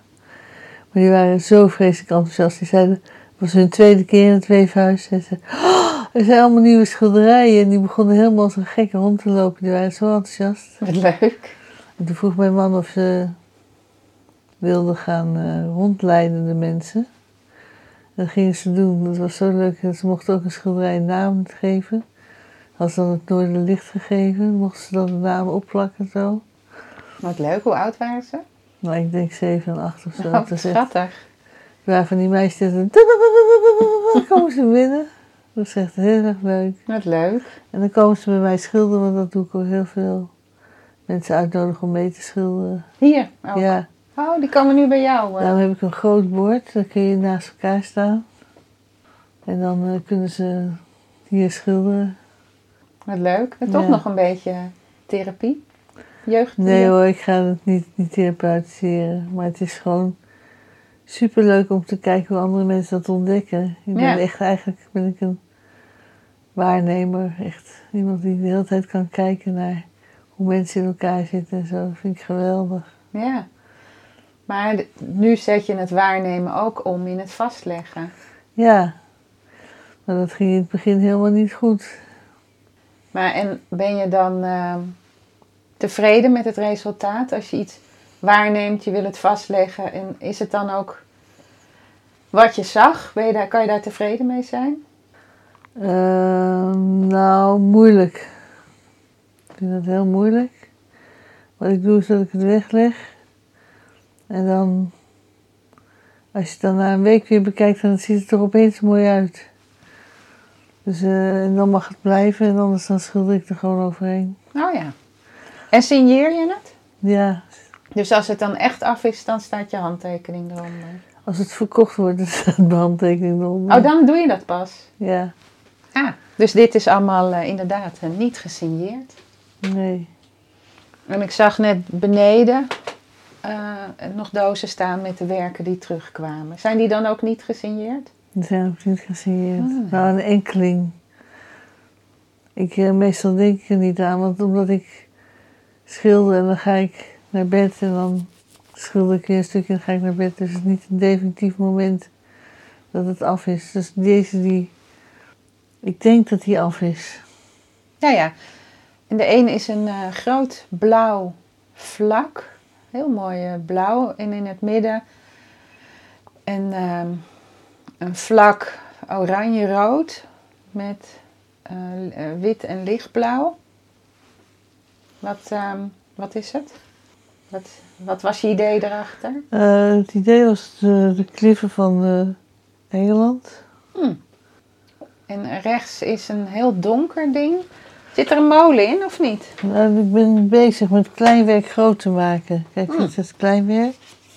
[SPEAKER 1] Maar die waren zo vreselijk enthousiast. Die zeiden, het was hun tweede keer in het weefhuis. En ze, "Oh, er zijn allemaal nieuwe schilderijen. En die begonnen helemaal als een gekke rond te lopen. Die waren zo enthousiast.
[SPEAKER 2] wat leuk.
[SPEAKER 1] En toen vroeg mijn man of ze wilde gaan eh, rondleiden de mensen. En dat gingen ze doen. Dat was zo leuk. En ze mochten ook een schilderij een naam geven. Had ze dan het Noorderlicht gegeven, mochten ze dan de naam opplakken zo.
[SPEAKER 2] Wat leuk, hoe oud waren ze?
[SPEAKER 1] Nou, ik denk 7 en 8 of zo.
[SPEAKER 2] Oh,
[SPEAKER 1] Dat is echt-
[SPEAKER 2] schattig.
[SPEAKER 1] waar van die meisjes die zeiden, komen ze binnen. Dat is echt heel erg leuk.
[SPEAKER 2] Wat leuk.
[SPEAKER 1] En dan komen ze bij mij schilderen, want dat doe ik ook heel veel. Mensen uitnodigen om mee te schilderen.
[SPEAKER 2] Hier. ook.
[SPEAKER 1] Ja.
[SPEAKER 2] Oh, die komen nu bij jou. eh.
[SPEAKER 1] Daarom Nou heb ik een groot bord, dan kun je naast elkaar staan. En dan eh, kunnen ze hier schilderen.
[SPEAKER 2] Wat leuk. En toch
[SPEAKER 1] Ja.
[SPEAKER 2] nog een beetje therapie. Jeugd.
[SPEAKER 1] Nee hoor, ik ga het niet, niet therapeutiseren. Maar het is gewoon superleuk om te kijken hoe andere mensen dat ontdekken. Ik ben
[SPEAKER 2] Ja.
[SPEAKER 1] echt eigenlijk ben ik een waarnemer. Echt iemand die de hele tijd kan kijken naar hoe mensen in elkaar zitten en zo. Dat vind ik geweldig.
[SPEAKER 2] Ja. Maar d- nu zet je het waarnemen ook om in het vastleggen.
[SPEAKER 1] Ja, maar dat ging in het begin helemaal niet goed.
[SPEAKER 2] Maar en ben je dan ehm, tevreden met het resultaat als je iets waarneemt, je wil het vastleggen en is het dan ook wat je zag? Ben je daar, kan je daar tevreden mee zijn?
[SPEAKER 1] Ehm, nou, moeilijk. Ik vind dat heel moeilijk. Wat ik doe is dat ik het wegleg. En dan, als je het dan na een week weer bekijkt, dan ziet het er opeens mooi uit. Dus eh, en dan mag het blijven en anders dan schilder ik er gewoon overheen.
[SPEAKER 2] Nou ja. En signeer je het?
[SPEAKER 1] Ja,
[SPEAKER 2] Dus als het dan echt af is, dan staat je handtekening eronder.
[SPEAKER 1] als het verkocht wordt, dan staat mijn handtekening eronder.
[SPEAKER 2] Oh, dan doe je dat pas.
[SPEAKER 1] Ja,
[SPEAKER 2] Ah, dus dit is allemaal eh, inderdaad eh, niet gesigneerd.
[SPEAKER 1] nee.
[SPEAKER 2] En ik zag net beneden eh, nog dozen staan met de werken die terugkwamen. Zijn die dan ook niet gesigneerd?
[SPEAKER 1] Die zijn ook niet gesigneerd.
[SPEAKER 2] Ah.
[SPEAKER 1] Nou, een enkeling. Ik, eh, meestal denk ik er niet aan, want omdat ik schilder en dan ga ik naar bed en dan schilder ik weer een stukje en dan ga ik naar bed. Dus het is niet een definitief moment dat het af is. Dus deze die, ik denk dat die af is.
[SPEAKER 2] Ja, ja. En de een is een eh, groot blauw vlak. Heel mooi eh, blauw. En in het midden een, ehm, een vlak oranje-rood met eh, l- eh, wit en lichtblauw. Wat, ehm, wat is het? Wat, wat was je idee erachter?
[SPEAKER 1] Eh, het idee was de, de kliffen van eh, Engeland.
[SPEAKER 2] En rechts is een heel donker ding. Zit er een molen in of niet?
[SPEAKER 1] Nou, ik ben bezig met klein werk groot te maken. Kijk,
[SPEAKER 2] Hmm.
[SPEAKER 1] dit is het klein werk.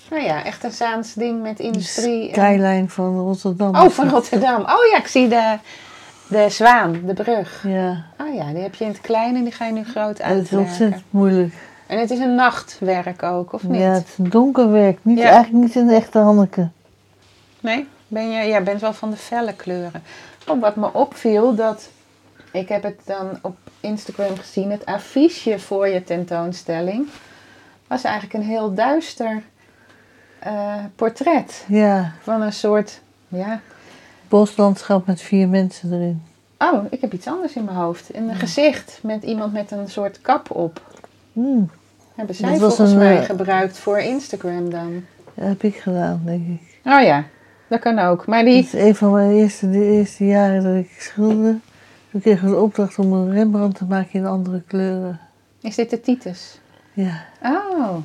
[SPEAKER 2] Nou ja, echt een Zaans ding met
[SPEAKER 1] De
[SPEAKER 2] industrie.
[SPEAKER 1] Dus
[SPEAKER 2] en-
[SPEAKER 1] skyline van Rotterdam.
[SPEAKER 2] Oh, van Rotterdam. Oh ja, ik zie de, de zwaan, de brug.
[SPEAKER 1] Ja,
[SPEAKER 2] Oh ja, die heb je in het klein en die ga je nu groot
[SPEAKER 1] en het is
[SPEAKER 2] uitwerken.
[SPEAKER 1] ontzettend moeilijk.
[SPEAKER 2] En het is een nachtwerk ook, of niet?
[SPEAKER 1] Ja, het is een donker werk. Niet,
[SPEAKER 2] Ja.
[SPEAKER 1] Eigenlijk niet een echte Hanneke.
[SPEAKER 2] Nee? Ben je, ja, bent wel van de felle kleuren. Oh, wat me opviel, dat... Ik heb het dan op Instagram gezien. Het affiche voor je tentoonstelling was eigenlijk een heel duister eh, portret.
[SPEAKER 1] Ja,
[SPEAKER 2] Van een soort, ja...
[SPEAKER 1] boslandschap met vier mensen erin.
[SPEAKER 2] Oh, ik heb iets anders in mijn hoofd. Een gezicht met iemand met een soort kap op.
[SPEAKER 1] Hmm,
[SPEAKER 2] Hebben zij
[SPEAKER 1] Dat was
[SPEAKER 2] volgens
[SPEAKER 1] een,
[SPEAKER 2] mij
[SPEAKER 1] eh,
[SPEAKER 2] gebruikt voor Instagram dan?
[SPEAKER 1] dat heb ik gedaan, denk ik.
[SPEAKER 2] Oh ja, dat kan ook. Maar
[SPEAKER 1] Het
[SPEAKER 2] die...
[SPEAKER 1] is een van mijn eerste, de eerste jaren dat ik schilderde. Toen kreeg ik de opdracht om een Rembrandt te maken in andere kleuren.
[SPEAKER 2] Is dit de Titus?
[SPEAKER 1] Ja,
[SPEAKER 2] Oh.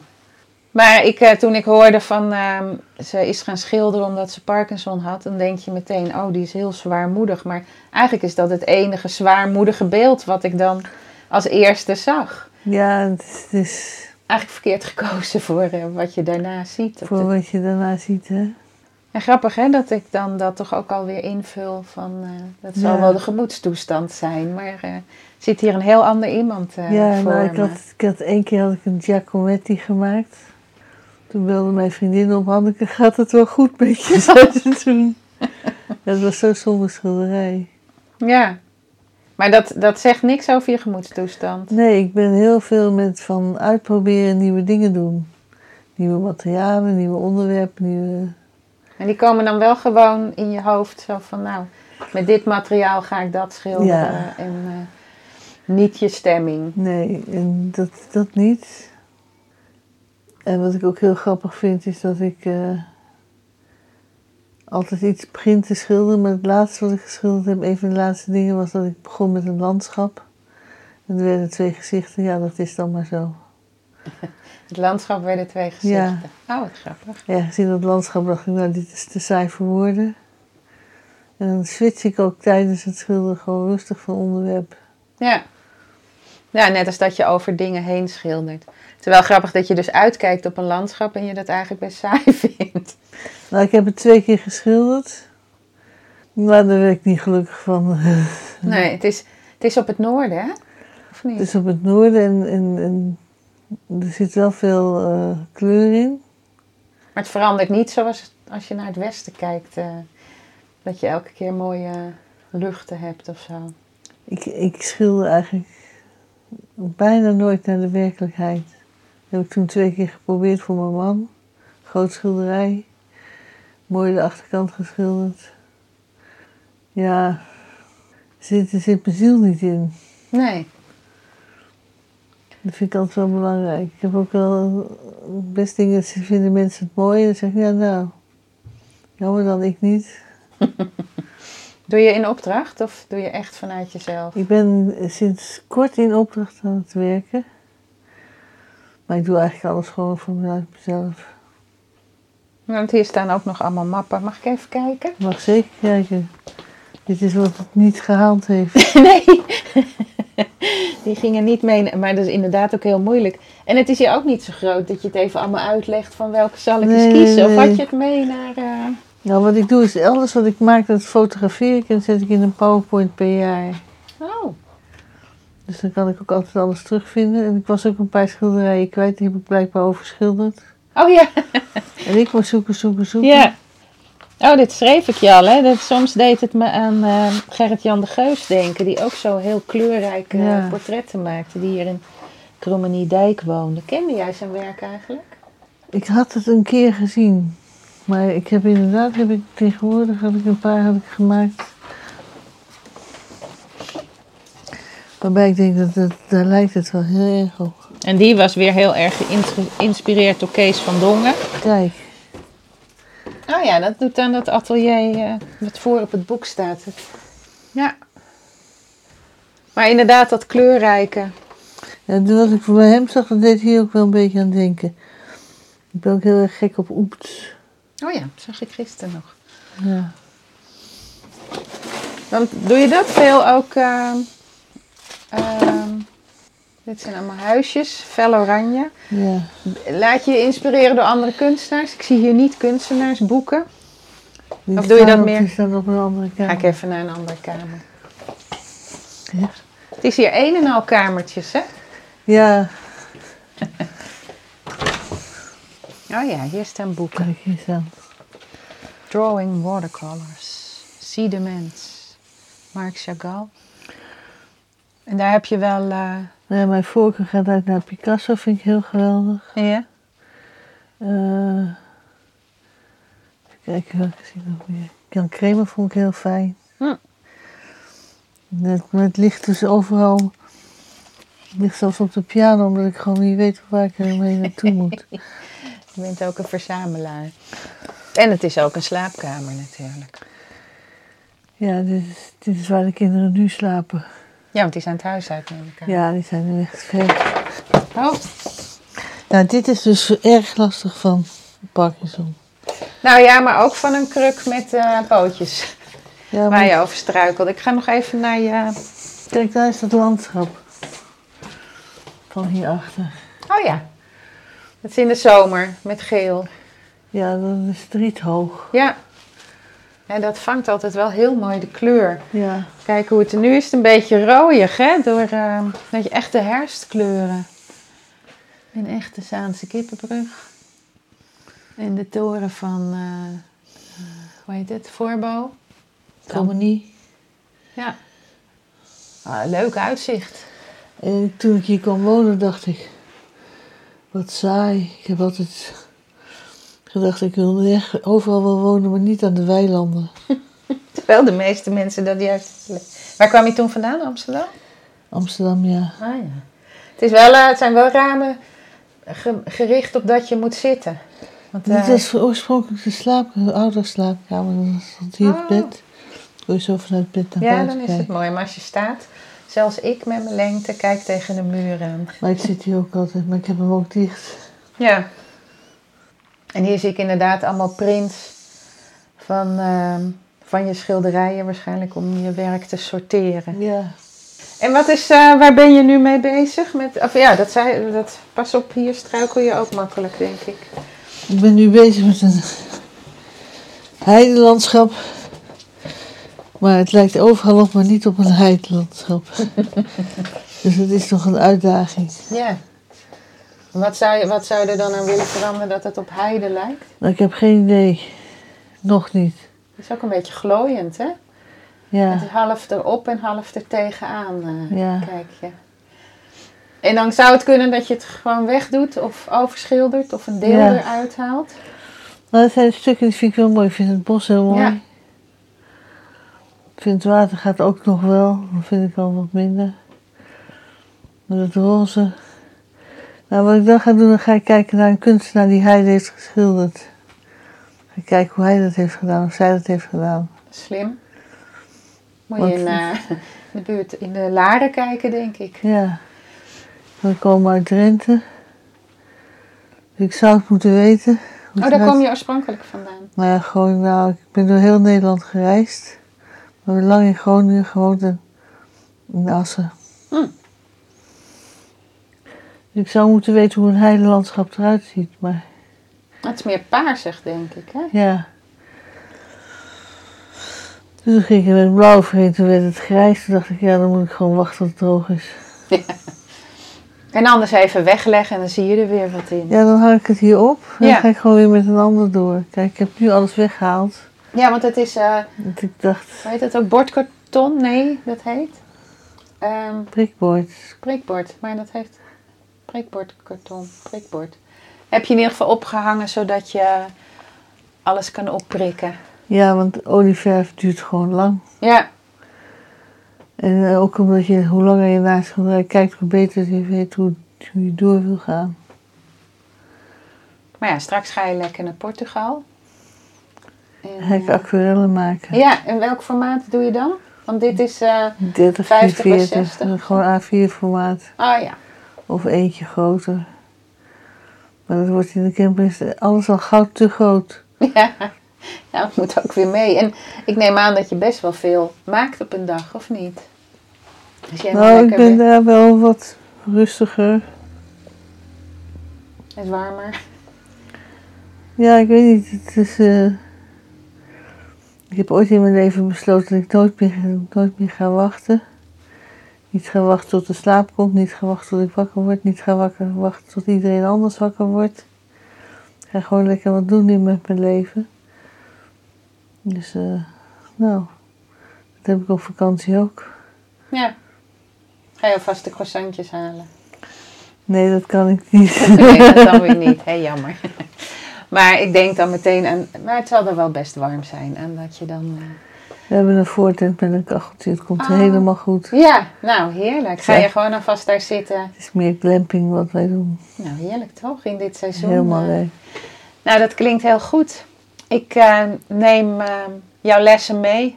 [SPEAKER 2] Maar ik, eh, toen ik hoorde van ehm, ze is gaan schilderen omdat ze Parkinson had, dan denk je meteen, oh die is heel zwaarmoedig. Maar eigenlijk is dat het enige zwaarmoedige beeld wat ik dan als eerste zag.
[SPEAKER 1] ja het is, het is
[SPEAKER 2] Eigenlijk verkeerd gekozen voor eh, wat je daarna ziet. op de
[SPEAKER 1] voor wat je daarna ziet, hè.
[SPEAKER 2] En grappig hè, dat ik dan dat toch ook alweer invul van, eh, dat zal
[SPEAKER 1] Ja.
[SPEAKER 2] wel de gemoedstoestand zijn, maar eh, zit hier een heel ander iemand eh
[SPEAKER 1] ja,
[SPEAKER 2] voor
[SPEAKER 1] maar ik
[SPEAKER 2] me.
[SPEAKER 1] had, ik had één keer had ik een Giacometti gemaakt. Toen belde mijn vriendin op, Hanneke, gaat het wel goed met je? zei ze toen. Ja, het was zo'n zonder schilderij.
[SPEAKER 2] Ja, maar dat, dat zegt niks over je gemoedstoestand.
[SPEAKER 1] Nee, ik ben heel veel met van uitproberen nieuwe dingen doen. Nieuwe materialen, nieuwe onderwerpen, nieuwe...
[SPEAKER 2] En die komen dan wel gewoon in je hoofd zo van, nou, met dit materiaal ga ik dat schilderen
[SPEAKER 1] Ja.
[SPEAKER 2] en eh, niet je stemming.
[SPEAKER 1] Nee, en dat, dat niet. En wat ik ook heel grappig vind is dat ik eh, altijd iets begin te schilderen. Maar het laatste wat ik geschilderd heb, een van de laatste dingen, was dat ik begon met een landschap. En er werden twee gezichten, ja dat is dan maar zo.
[SPEAKER 2] Het landschap werden twee gezichten. Oh, wat grappig.
[SPEAKER 1] Ja, gezien dat landschap dacht ik, nou dit is te saai voor woorden. En dan switch ik ook tijdens het schilderen gewoon rustig van onderwerp.
[SPEAKER 2] Ja. Ja, net als dat je over dingen heen schildert. Terwijl grappig dat je dus uitkijkt op een landschap en je dat eigenlijk best saai vindt.
[SPEAKER 1] Nou, ik heb het twee keer geschilderd. Maar daar werd ik niet gelukkig van.
[SPEAKER 2] Nee, het is, het is op het noorden, hè? Of niet?
[SPEAKER 1] Het is op het noorden en, en, en er zit wel veel eh, kleur in.
[SPEAKER 2] Maar het verandert niet zoals als je naar het westen kijkt. eh, dat je elke keer mooie luchten hebt of zo.
[SPEAKER 1] Ik, ik schilder eigenlijk bijna nooit naar de werkelijkheid. Dat heb ik toen twee keer geprobeerd voor mijn man. Groot schilderij. Mooi de achterkant geschilderd. Ja, er zit, er zit mijn ziel niet in.
[SPEAKER 2] Nee.
[SPEAKER 1] Dat vind ik altijd wel belangrijk. Ik heb ook wel best dingen, ze vinden mensen het mooi. En dan zeg ik, ja nou, jammer dan ik niet.
[SPEAKER 2] Doe je in opdracht of doe je echt vanuit jezelf?
[SPEAKER 1] Ik ben sinds kort in opdracht aan het werken. Maar ik doe eigenlijk alles gewoon vanuit mezelf.
[SPEAKER 2] Want hier staan ook nog allemaal mappen. Mag ik even kijken?
[SPEAKER 1] Je mag zeker kijken. Dit is wat het niet gehaald heeft.
[SPEAKER 2] Nee. Die gingen niet mee. Maar dat is inderdaad ook heel moeilijk. En het is hier ook niet zo groot dat je het even allemaal uitlegt van welke zal ik
[SPEAKER 1] Nee,
[SPEAKER 2] eens
[SPEAKER 1] nee,
[SPEAKER 2] kiezen. Of
[SPEAKER 1] nee.
[SPEAKER 2] had je het mee naar. eh,
[SPEAKER 1] Nou, wat ik doe is alles wat ik maak, dat fotografeer ik en zet ik in een PowerPoint per jaar.
[SPEAKER 2] Oh,
[SPEAKER 1] Dus dan kan ik ook altijd alles terugvinden. En ik was ook een paar schilderijen kwijt, die heb ik blijkbaar overschilderd.
[SPEAKER 2] oh ja.
[SPEAKER 1] En ik was zoeken, zoeken, zoeken.
[SPEAKER 2] ja. Oh, dit schreef ik je al. Hè? Dat, soms deed het me aan eh, Gerrit-Jan de Geus denken. Die ook zo heel kleurrijke eh,
[SPEAKER 1] Ja.
[SPEAKER 2] portretten maakte. Die hier in Krommenie-Dijk woonde. Kende jij zijn werk eigenlijk?
[SPEAKER 1] Ik had het een keer gezien. Maar ik heb inderdaad, heb ik tegenwoordig had ik een paar had ik gemaakt. Waarbij ik denk dat het, daar lijkt het wel heel erg op.
[SPEAKER 2] En die was weer heel erg geïns- geïnspireerd door Kees van Dongen.
[SPEAKER 1] Kijk,
[SPEAKER 2] Oh ja, dat doet dan dat atelier eh, wat voor op het boek staat. Ja. Maar inderdaad, dat kleurrijke.
[SPEAKER 1] ja, toen wat ik voor bij hem zag, dat deed hier ook wel een beetje aan denken. Ik ben ook heel erg gek op oept.
[SPEAKER 2] Oh ja, zag ik gisteren nog.
[SPEAKER 1] Ja.
[SPEAKER 2] Want doe je dat veel ook? ehm, ehm, dit zijn allemaal huisjes, fel oranje.
[SPEAKER 1] Ja.
[SPEAKER 2] Laat je je inspireren door andere kunstenaars. Ik zie hier niet kunstenaars boeken.
[SPEAKER 1] Die
[SPEAKER 2] Of doe je
[SPEAKER 1] staan
[SPEAKER 2] dat
[SPEAKER 1] op-
[SPEAKER 2] meer?
[SPEAKER 1] Die staan op een andere
[SPEAKER 2] Ga
[SPEAKER 1] kamer.
[SPEAKER 2] ik even naar een andere kamer.
[SPEAKER 1] Ja.
[SPEAKER 2] Het is hier een en al kamertjes, hè?
[SPEAKER 1] Ja,
[SPEAKER 2] Oh ja, hier staan boeken.
[SPEAKER 1] kijk hier staan.
[SPEAKER 2] Drawing Watercolors. See the Mens. Marc Chagall. En daar heb je wel... eh,
[SPEAKER 1] Ja, mijn voorkeur gaat uit naar Picasso, vind ik heel geweldig.
[SPEAKER 2] ja?
[SPEAKER 1] Eh, even kijken welke zie ik nog meer. Jan Kramer vond ik heel fijn.
[SPEAKER 2] Hm.
[SPEAKER 1] Net met licht dus overal. Het ligt zelfs op de piano, omdat ik gewoon niet weet waar ik ermee naartoe moet.
[SPEAKER 2] Je bent ook een verzamelaar. En het is ook een slaapkamer natuurlijk.
[SPEAKER 1] Ja, dit is, dit is waar de kinderen nu slapen.
[SPEAKER 2] Ja, want die zijn het huis uit, neem ik aan.
[SPEAKER 1] Ja, die zijn nu echt ver.
[SPEAKER 2] Oh.
[SPEAKER 1] Nou, dit is dus erg lastig van Parkinson.
[SPEAKER 2] Nou ja, maar ook van een kruk met eh, pootjes
[SPEAKER 1] Ja,
[SPEAKER 2] waar
[SPEAKER 1] maar
[SPEAKER 2] je over struikelt. Ik ga nog even naar je...
[SPEAKER 1] kijk, daar is dat landschap. Van hierachter.
[SPEAKER 2] Oh ja, het is in de zomer met geel.
[SPEAKER 1] Ja, dat is driethoog.
[SPEAKER 2] Ja. En dat vangt altijd wel heel mooi de kleur.
[SPEAKER 1] Ja.
[SPEAKER 2] Kijk hoe het er nu is. Het een beetje rooiig, hè? Door eh, dat je echt de herfstkleuren. Een echte Zaanse kippenbrug. En de toren van, eh, eh, hoe heet het? Voorbo.
[SPEAKER 1] Compagnie.
[SPEAKER 2] Ja. Ah, leuk uitzicht.
[SPEAKER 1] En toen ik hier kwam wonen dacht ik, wat saai. Ik heb altijd gedacht, ik wil nerg- overal wel wonen, maar niet aan de weilanden.
[SPEAKER 2] Terwijl de meeste mensen dat juist... Waar kwam je toen vandaan, Amsterdam?
[SPEAKER 1] Amsterdam, ja.
[SPEAKER 2] Ah ja. Het, is wel, eh, het zijn wel ramen ge- gericht op dat je moet zitten. Want, eh,
[SPEAKER 1] Dit was oorspronkelijk de slaap, de ouderslaapkamer. Dan stond hier het
[SPEAKER 2] Oh.
[SPEAKER 1] bed. Kon je zo vanuit het bed naar
[SPEAKER 2] Ja,
[SPEAKER 1] buiten
[SPEAKER 2] dan is
[SPEAKER 1] kijken.
[SPEAKER 2] het mooi. Maar als je staat, zelfs ik met mijn lengte, kijk tegen de muur aan.
[SPEAKER 1] Maar ik zit hier ook altijd, maar ik heb hem ook dicht.
[SPEAKER 2] Ja. En hier zie ik inderdaad allemaal prints van, ehm, van je schilderijen, waarschijnlijk om je werk te sorteren.
[SPEAKER 1] Ja.
[SPEAKER 2] En wat is, eh, waar ben je nu mee bezig? Met, of ja, dat zei, dat, pas op, hier struikel je ook makkelijk, denk ik.
[SPEAKER 1] Ik ben nu bezig met een heidelandschap. Maar het lijkt overal op, maar niet op een heidelandschap. dus het is nog een uitdaging.
[SPEAKER 2] Ja. Wat zou, je, wat zou je er dan aan willen veranderen dat het op heide lijkt?
[SPEAKER 1] Nou, ik heb geen idee. Nog niet.
[SPEAKER 2] Het is ook een beetje glooiend, hè? Het
[SPEAKER 1] Ja.
[SPEAKER 2] is half erop en half er tegenaan. eh,
[SPEAKER 1] Ja.
[SPEAKER 2] Kijk je. En dan zou het kunnen dat je het gewoon wegdoet of overschildert of een deel
[SPEAKER 1] Ja.
[SPEAKER 2] eruit haalt.
[SPEAKER 1] Nou, dat zijn stukken die vind ik wel mooi. Ik vind het bos heel mooi.
[SPEAKER 2] Ja.
[SPEAKER 1] Ik vind het water gaat ook nog wel. Dat vind ik al wat minder. Maar dat roze. Nou, wat ik dan ga doen, dan ga ik kijken naar een kunstenaar die hij heeft geschilderd. Ga ik kijken hoe hij dat heeft gedaan, of zij dat heeft gedaan.
[SPEAKER 2] Slim. Moet
[SPEAKER 1] Wat
[SPEAKER 2] je in eh, de buurt in de laren kijken, denk ik.
[SPEAKER 1] Ja. We komen uit Drenthe. Dus ik zou het moeten weten. hoe
[SPEAKER 2] Oh,
[SPEAKER 1] het
[SPEAKER 2] daar
[SPEAKER 1] eruit-
[SPEAKER 2] kom je oorspronkelijk vandaan.
[SPEAKER 1] Nou ja, gewoon, nou, ik ben door heel Nederland gereisd. We hebben lang in Groningen gewoond en in Assen.
[SPEAKER 2] Hm.
[SPEAKER 1] Ik zou moeten weten hoe een heidelandschap eruit ziet, maar
[SPEAKER 2] Het is meer paarsig, denk ik. Hè?
[SPEAKER 1] ja. Dus toen ging ik met blauw vreemd, toen werd het grijs. Toen dacht ik, ja, dan moet ik gewoon wachten tot het droog is.
[SPEAKER 2] En anders even wegleggen en dan zie je er weer wat in. Ja,
[SPEAKER 1] Ja, dan hang ik het hier op en
[SPEAKER 2] Ja.
[SPEAKER 1] dan ga ik gewoon weer met een ander door. Kijk, ik heb nu alles weggehaald.
[SPEAKER 2] want het is, eh
[SPEAKER 1] Want ik dacht,
[SPEAKER 2] hoe heet dat ook, bordkarton? Nee, dat heet. Ehm,
[SPEAKER 1] prikbord.
[SPEAKER 2] Prikbord, maar dat heeft prikbordkarton, prikbord. Heb je in ieder geval opgehangen zodat je alles kan opprikken.
[SPEAKER 1] Ja, want olieverf duurt gewoon lang.
[SPEAKER 2] Ja,
[SPEAKER 1] En eh, ook omdat je, hoe langer je naar het schilderij kijkt, hoe beter je weet hoe, hoe je door wil gaan.
[SPEAKER 2] maar ja, straks ga je lekker naar Portugal. En,
[SPEAKER 1] Dan ga ik
[SPEAKER 2] eh,
[SPEAKER 1] aquarellen maken.
[SPEAKER 2] ja, en welk formaat doe je dan? Want dit is, eh
[SPEAKER 1] 30,
[SPEAKER 2] 50 bij
[SPEAKER 1] 40,
[SPEAKER 2] 60.
[SPEAKER 1] gewoon A4 formaat.
[SPEAKER 2] oh ja,
[SPEAKER 1] Of eentje groter. Maar dat wordt in de camping is alles al gauw te groot.
[SPEAKER 2] ja, Nou, ik moet ook weer mee. En ik neem aan dat je best wel veel maakt op een dag, of niet? Als jij maar
[SPEAKER 1] Nou, ik
[SPEAKER 2] lekker
[SPEAKER 1] ben
[SPEAKER 2] bent,
[SPEAKER 1] daar wel wat rustiger.
[SPEAKER 2] het warmer.
[SPEAKER 1] Ja, ik weet niet. Het is, eh, ik heb ooit in mijn leven besloten dat ik nooit meer, nooit meer ga wachten. Niet gaan wachten tot de slaap komt, niet gaan wachten tot ik wakker word, niet gaan wakker, wachten tot iedereen anders wakker wordt. Ik ga gewoon lekker wat doen nu met mijn leven. Dus, eh, nou, dat heb ik op vakantie ook.
[SPEAKER 2] Ja. Ga je alvast de croissantjes halen?
[SPEAKER 1] Nee, dat kan ik niet.
[SPEAKER 2] Nee, dat dan weer niet. Hé, jammer. Maar ik denk dan meteen aan... Maar het zal er wel best warm zijn. En dat je dan... eh,
[SPEAKER 1] We hebben een voortent met een kacheltje, het komt
[SPEAKER 2] Ah.
[SPEAKER 1] helemaal goed.
[SPEAKER 2] Ja, nou heerlijk. Ga
[SPEAKER 1] Ja.
[SPEAKER 2] je gewoon alvast daar zitten.
[SPEAKER 1] Het is meer glamping wat wij doen.
[SPEAKER 2] Nou heerlijk toch, in dit seizoen.
[SPEAKER 1] Helemaal
[SPEAKER 2] eh.
[SPEAKER 1] leuk.
[SPEAKER 2] Nou, dat klinkt heel goed. Ik eh, neem eh, jouw lessen mee.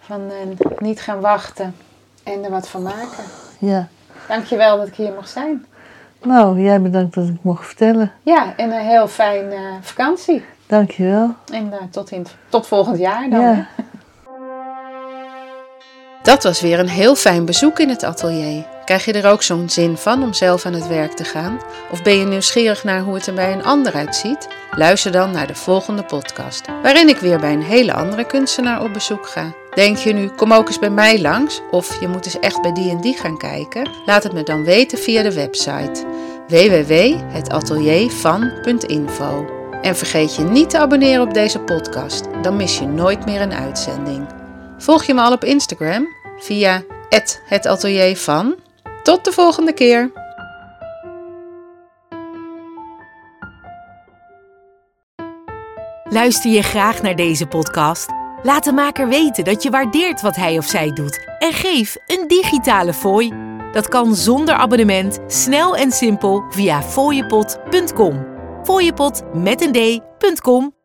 [SPEAKER 2] Van eh, niet gaan wachten en er wat van maken.
[SPEAKER 1] Ja.
[SPEAKER 2] Dankjewel dat ik hier mag zijn.
[SPEAKER 1] Nou, jij bedankt dat ik mocht vertellen.
[SPEAKER 2] Ja, en een heel fijne vakantie.
[SPEAKER 1] Dankjewel.
[SPEAKER 2] En eh, tot, in, tot volgend jaar dan.
[SPEAKER 1] Ja.
[SPEAKER 2] hè?
[SPEAKER 3] Dat was weer een heel fijn bezoek in het atelier. Krijg je er ook zo'n zin van om zelf aan het werk te gaan? Of ben je nieuwsgierig naar hoe het er bij een ander uitziet? Luister dan naar de volgende podcast, waarin ik weer bij een hele andere kunstenaar op bezoek ga. Denk je nu, kom ook eens bij mij langs? Of je moet eens echt bij die en die gaan kijken? Laat het me dan weten via de website www.hetateliervan.info. En vergeet je niet te abonneren op deze podcast, dan mis je nooit meer een uitzending. Volg je me al op Instagram via het atelier van. Tot de volgende keer!
[SPEAKER 4] Luister je graag naar deze podcast? Laat de maker weten dat je waardeert wat hij of zij doet en geef een digitale fooi. Dat kan zonder abonnement, snel en simpel via fooiepot.com. Fooiepot met een d.com.